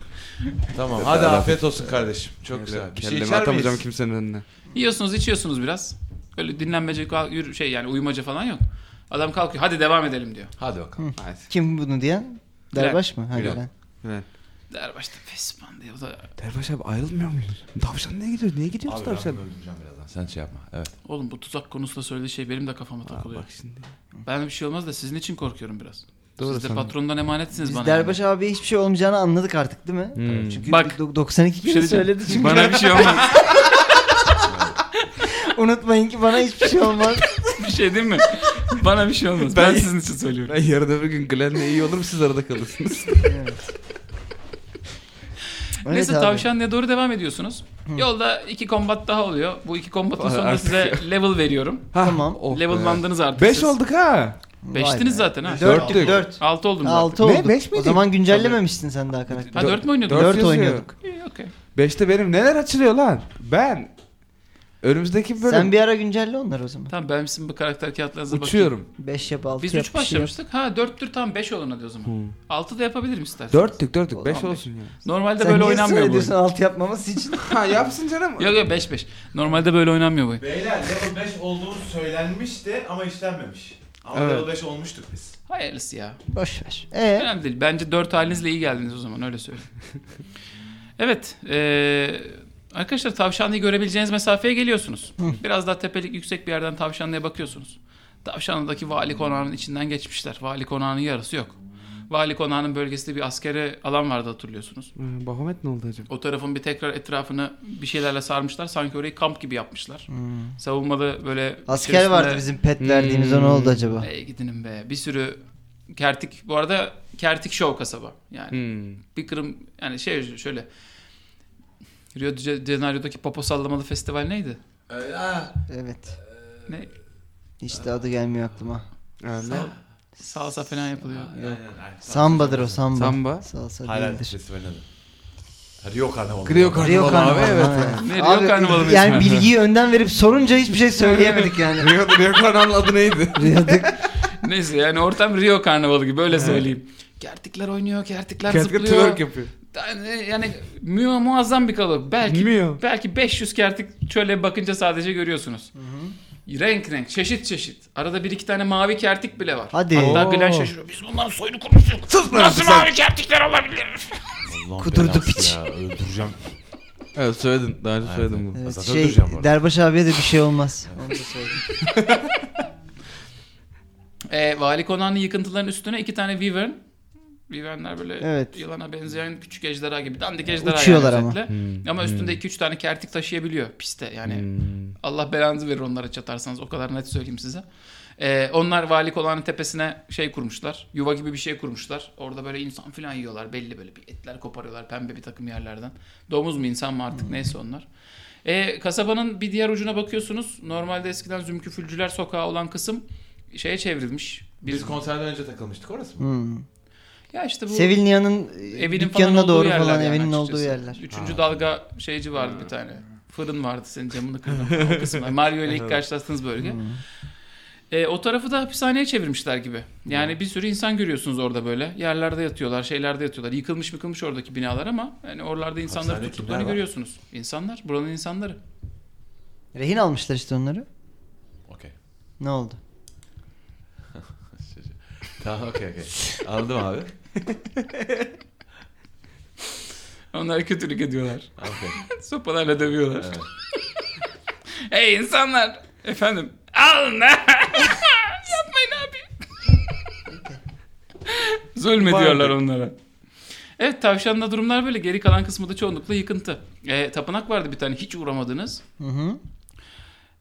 [SPEAKER 5] Tamam hadi afiyet olsun kardeşim. Çok güzel. Bir şey
[SPEAKER 3] Kellemi
[SPEAKER 5] içer
[SPEAKER 3] atamayacağım
[SPEAKER 5] miyiz?
[SPEAKER 3] kimsenin önüne.
[SPEAKER 1] Yiyorsunuz içiyorsunuz biraz. Öyle dinlenmece kalk- yürü- şey yani uyumaca falan yok. Adam kalkıyor hadi devam edelim diyor.
[SPEAKER 5] Hadi bakalım.
[SPEAKER 3] Hadi.
[SPEAKER 2] Kim bunu diyen? Derbaş mı? Ha,
[SPEAKER 1] Bilal.
[SPEAKER 2] Gülen.
[SPEAKER 3] Evet.
[SPEAKER 1] Der başta fesman diyor. O da,
[SPEAKER 3] Derbaş abi ayrılmıyor muyuz? Tavşan niye gidiyor? Niye gidiyoruz
[SPEAKER 5] Abi ben
[SPEAKER 3] tavşan?
[SPEAKER 5] öldüreceğim birazdan.
[SPEAKER 4] Sen şey yapma. Evet.
[SPEAKER 1] Oğlum bu tuzak konusunda söylediği şey benim de kafama takılıyor.
[SPEAKER 3] Bak şimdi.
[SPEAKER 1] Ben bir şey olmaz da sizin için korkuyorum biraz.
[SPEAKER 3] Doğru
[SPEAKER 1] Siz de
[SPEAKER 3] sana.
[SPEAKER 1] patrondan emanetsiniz
[SPEAKER 2] Biz
[SPEAKER 1] bana. Hmm.
[SPEAKER 2] Derbaş abiye hiçbir şey olmayacağını anladık artık değil mi? Çünkü
[SPEAKER 1] Bak.
[SPEAKER 2] do- 92
[SPEAKER 1] Bir
[SPEAKER 2] kere
[SPEAKER 1] şey diyeceğim.
[SPEAKER 2] söyledi çünkü.
[SPEAKER 1] Bana bir şey olmaz.
[SPEAKER 2] Unutmayın ki bana hiçbir şey olmaz.
[SPEAKER 1] bir şey değil mi? Bana bir şey olmaz. Ben, sizin için söylüyorum.
[SPEAKER 3] Ben yarın öbür gün Glenn'le iyi olurum siz arada kalırsınız.
[SPEAKER 2] Evet
[SPEAKER 1] Neyse
[SPEAKER 2] abi.
[SPEAKER 1] tavşan diye doğru devam ediyorsunuz. Yolda iki kombat daha oluyor. Bu iki kombatın
[SPEAKER 3] Vay
[SPEAKER 1] sonunda
[SPEAKER 3] artık
[SPEAKER 1] size level veriyorum.
[SPEAKER 2] Tamam.
[SPEAKER 3] oh be.
[SPEAKER 1] Level'landınız artık
[SPEAKER 3] Beş
[SPEAKER 1] siz.
[SPEAKER 3] olduk ha.
[SPEAKER 1] Beştiniz zaten ha.
[SPEAKER 2] 4
[SPEAKER 3] Dörttük.
[SPEAKER 2] 4.
[SPEAKER 1] Altı oldum ben.
[SPEAKER 2] 6
[SPEAKER 3] Ne,
[SPEAKER 2] oldu.
[SPEAKER 3] beş
[SPEAKER 2] O
[SPEAKER 3] miydik?
[SPEAKER 2] zaman güncellememişsin sen daha
[SPEAKER 1] Ha
[SPEAKER 2] karakter.
[SPEAKER 1] dört mü oynuyordun?
[SPEAKER 3] Dört
[SPEAKER 2] 4
[SPEAKER 3] yazıyor.
[SPEAKER 2] oynuyorduk.
[SPEAKER 1] İyi okey.
[SPEAKER 3] Beşte benim neler açılıyor lan? Ben. Önümüzdeki bölüm.
[SPEAKER 2] Sen bir ara güncelle onları o zaman.
[SPEAKER 1] Tamam ben sizin bu karakter kağıtlarınıza bakayım.
[SPEAKER 3] Uçuyorum.
[SPEAKER 2] 5 yap 6
[SPEAKER 1] Biz
[SPEAKER 2] yap.
[SPEAKER 1] üç
[SPEAKER 2] bir şey yap.
[SPEAKER 1] başlamıştık. Ha dörttür tam beş olun hadi o zaman. Altı da yapabilirim istersen.
[SPEAKER 3] Dörtlük dörtlük. Beş
[SPEAKER 1] Tamam, beş.
[SPEAKER 3] olsun ya.
[SPEAKER 1] Normalde
[SPEAKER 2] Sen
[SPEAKER 1] böyle
[SPEAKER 2] niye ısrar
[SPEAKER 1] oynanmıyor bu oyun.
[SPEAKER 2] ediyorsun 6 yapmaması için?
[SPEAKER 3] Ha yapsın canım.
[SPEAKER 1] Yok yok 5 5. Normalde böyle oynanmıyor bu oyun.
[SPEAKER 5] Beyler level 5 olduğumuz söylenmişti ama işlenmemiş. Ama
[SPEAKER 3] Evet.
[SPEAKER 5] level 5 olmuştuk biz.
[SPEAKER 1] Hayırlısı ya.
[SPEAKER 2] Boş ver. Ee,
[SPEAKER 1] Önemli değil. Bence 4 halinizle iyi geldiniz o zaman öyle söyleyeyim. evet. eee, arkadaşlar tavşanlıyı görebileceğiniz mesafeye geliyorsunuz. Biraz daha tepelik yüksek bir yerden tavşanlıya bakıyorsunuz. Tavşanlı'daki vali konağının içinden geçmişler. Vali konağının yarısı yok. Vali konağının bölgesinde bir askeri alan vardı hatırlıyorsunuz.
[SPEAKER 3] Ee, Bahamet ne oldu acaba?
[SPEAKER 1] O tarafın bir tekrar etrafını bir şeylerle sarmışlar. Sanki orayı kamp gibi yapmışlar. Savunmalı böyle...
[SPEAKER 2] asker
[SPEAKER 1] içerisinde-
[SPEAKER 2] vardı bizim pet verdiğimiz o ne oldu acaba?
[SPEAKER 1] Ey gidinim be. Bir sürü kertik bu arada kertik şov kasaba. Yani
[SPEAKER 3] Hmm.
[SPEAKER 1] bir kırım yani şey şöyle Rio de Janeiro'daki popo sallamalı festival neydi?
[SPEAKER 2] Evet.
[SPEAKER 1] Ne?
[SPEAKER 2] İşte adı gelmiyor aklıma.
[SPEAKER 3] Ee, ne?
[SPEAKER 1] Salsa falan yapılıyor.
[SPEAKER 2] Sambadır o samba.
[SPEAKER 3] Samba.
[SPEAKER 2] Salsa
[SPEAKER 5] Hayal
[SPEAKER 2] değildir.
[SPEAKER 5] festivalin adı. Rio Karnavalı.
[SPEAKER 3] Grio Karnavalı
[SPEAKER 2] Rio
[SPEAKER 3] abi
[SPEAKER 2] Karnavalı.
[SPEAKER 3] evet.
[SPEAKER 2] ha.
[SPEAKER 1] Ne, Rio Karnavalı mı
[SPEAKER 2] Yani
[SPEAKER 1] ismi?
[SPEAKER 2] bilgiyi önden verip sorunca hiçbir şey söyleyemedik yani.
[SPEAKER 3] Rio, Rio Karnavalı'nın adı neydi?
[SPEAKER 2] Rüyadık.
[SPEAKER 1] Neyse yani ortam Rio karnavalı gibi öyle söyleyeyim. Kertikler oynuyor, kertikler
[SPEAKER 3] Kertika
[SPEAKER 1] zıplıyor.
[SPEAKER 3] twerk yapıyor.
[SPEAKER 1] Yani, yani mu- muazzam bir kalabalık. Belki
[SPEAKER 3] Mio.
[SPEAKER 1] belki 500 kertik şöyle bakınca sadece görüyorsunuz. Renk renk, çeşit çeşit. Arada bir iki tane mavi kertik bile var.
[SPEAKER 2] Hadi.
[SPEAKER 1] Hatta
[SPEAKER 3] Oo.
[SPEAKER 1] Gülen şaşırıyor. Biz bunların soyunu konuştuk. Nasıl mavi kertikler olabilir?
[SPEAKER 4] Allah'ım
[SPEAKER 2] Kudurdu
[SPEAKER 4] belası
[SPEAKER 2] piç.
[SPEAKER 4] Ya, öldüreceğim.
[SPEAKER 3] Evet söyledin. Daha önce söyledim bunu.
[SPEAKER 2] Evet,
[SPEAKER 4] Zaten
[SPEAKER 2] şey,
[SPEAKER 4] duracağım bu arada.
[SPEAKER 2] Derbaş abiye de bir şey olmaz. Onu da söyleyeyim.
[SPEAKER 1] E, vali konağının yıkıntıların üstüne iki tane Wyvern. Wyvernler böyle
[SPEAKER 2] Evet.
[SPEAKER 1] yılana benzeyen küçük ejderha gibi. Dandik ejderha
[SPEAKER 2] Uçuyorlar
[SPEAKER 1] yani
[SPEAKER 2] ama.
[SPEAKER 1] özetle. Ama üstünde iki üç tane kertik taşıyabiliyor piste. Yani Allah belanızı verir onlara çatarsanız. O kadar net söyleyeyim size. E, onlar vali konağının tepesine şey kurmuşlar. Yuva gibi bir şey kurmuşlar. Orada böyle insan falan yiyorlar. Belli böyle bir etler koparıyorlar pembe bir takım yerlerden. Domuz mu insan mı
[SPEAKER 5] Hmm.
[SPEAKER 1] artık neyse onlar. E, kasabanın bir diğer ucuna bakıyorsunuz. Normalde eskiden Zümküfülcüler sokağı olan kısım şeye çevrilmiş. Bir
[SPEAKER 5] Biz konserden önce takılmıştık orası mı?
[SPEAKER 2] Hmm.
[SPEAKER 1] ya işte bu
[SPEAKER 2] Sevilnia'nın
[SPEAKER 1] evinin
[SPEAKER 2] dükkanına
[SPEAKER 1] falan olduğu
[SPEAKER 2] doğru
[SPEAKER 1] yerler
[SPEAKER 2] falan
[SPEAKER 1] yani
[SPEAKER 2] evinin
[SPEAKER 1] açıkçası.
[SPEAKER 2] olduğu yerler.
[SPEAKER 1] Üçüncü dalga şeyci vardı bir tane. Fırın vardı senin camını kırdım. o kısımda. Mario ile ilk karşılaştığınız
[SPEAKER 5] Hmm.
[SPEAKER 1] bölge. E, o tarafı da hapishaneye çevirmişler gibi.
[SPEAKER 5] Hmm.
[SPEAKER 1] Yani bir sürü insan görüyorsunuz orada böyle. Yerlerde yatıyorlar, şeylerde yatıyorlar. Yıkılmış mıkılmış oradaki binalar ama yani oralarda insanları
[SPEAKER 5] Hapishanede
[SPEAKER 1] tuttuklarını
[SPEAKER 5] kimler var?
[SPEAKER 1] görüyorsunuz. İnsanlar, buranın insanları.
[SPEAKER 2] Rehin almışlar işte onları.
[SPEAKER 5] Okey.
[SPEAKER 2] Ne oldu?
[SPEAKER 5] Tamam okey okey. Anladım abi.
[SPEAKER 1] Onlara kötülük ediyorlar.
[SPEAKER 5] Okey.
[SPEAKER 1] Sopalarla dövüyorlar.
[SPEAKER 5] Evet.
[SPEAKER 1] Ey insanlar! Efendim. Al ne? Yapmayın abi. Zulme diyorlar onlara. Evet tavşanda durumlar böyle. Geri kalan kısmı da çoğunlukla yıkıntı. E, tapınak vardı bir tane. Hiç uğramadınız.
[SPEAKER 2] Hı hı.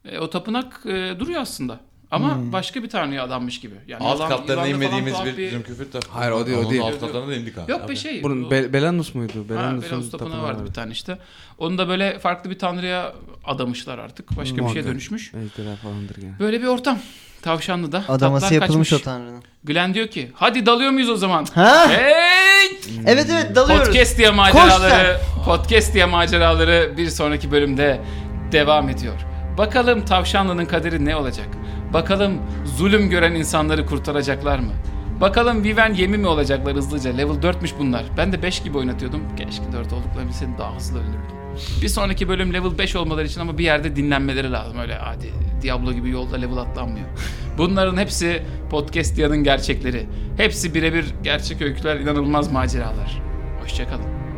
[SPEAKER 1] E, o tapınak e, duruyor aslında. Ama başka bir tanrıya adanmış gibi. Yani
[SPEAKER 5] Hmm. Alt
[SPEAKER 1] yılan- yılanla
[SPEAKER 5] katlarına
[SPEAKER 1] falan
[SPEAKER 5] inmediğimiz
[SPEAKER 1] tuhaf
[SPEAKER 5] bir, bir... zümküfür tapınağı.
[SPEAKER 3] Hayır, o değil, o
[SPEAKER 5] Onun
[SPEAKER 3] değil.
[SPEAKER 5] alt katlarına da indik abi.
[SPEAKER 1] Yok be şey.
[SPEAKER 3] Bunun
[SPEAKER 1] o-
[SPEAKER 3] Be- Belanus muydu?
[SPEAKER 1] Ha,
[SPEAKER 3] Belanus'un
[SPEAKER 1] Belarus tapınağı vardı bir
[SPEAKER 3] vardı.
[SPEAKER 1] tane işte. Onu da böyle farklı bir tanrıya adamışlar artık. Başka bir şeye
[SPEAKER 3] Morgan.
[SPEAKER 1] dönüşmüş.
[SPEAKER 3] Ejderha falandır gene.
[SPEAKER 1] Böyle bir ortam. Tavşanlı da.
[SPEAKER 2] Adaması
[SPEAKER 1] Tatlar
[SPEAKER 2] yapılmış
[SPEAKER 1] kaçmış.
[SPEAKER 2] o tanrının.
[SPEAKER 1] Glenn diyor ki hadi dalıyor muyuz o zaman?
[SPEAKER 2] Ha?
[SPEAKER 1] Hey!
[SPEAKER 2] Evet evet dalıyoruz.
[SPEAKER 1] Podcast diye maceraları, podcast diye maceraları bir sonraki bölümde devam ediyor. Bakalım tavşanlının kaderi ne olacak? Bakalım zulüm gören insanları kurtaracaklar mı? Bakalım Viven yemi mi olacaklar hızlıca? Level 4'müş bunlar. Ben de 5 gibi oynatıyordum. Keşke 4 olduklarını bilseydim daha hızlı ölürdüm. Bir sonraki bölüm level 5 olmaları için ama bir yerde dinlenmeleri lazım. Öyle hadi Diablo gibi yolda level atlanmıyor. Bunların hepsi Podcast Diyan'ın gerçekleri. Hepsi birebir gerçek öyküler, inanılmaz maceralar. Hoşçakalın.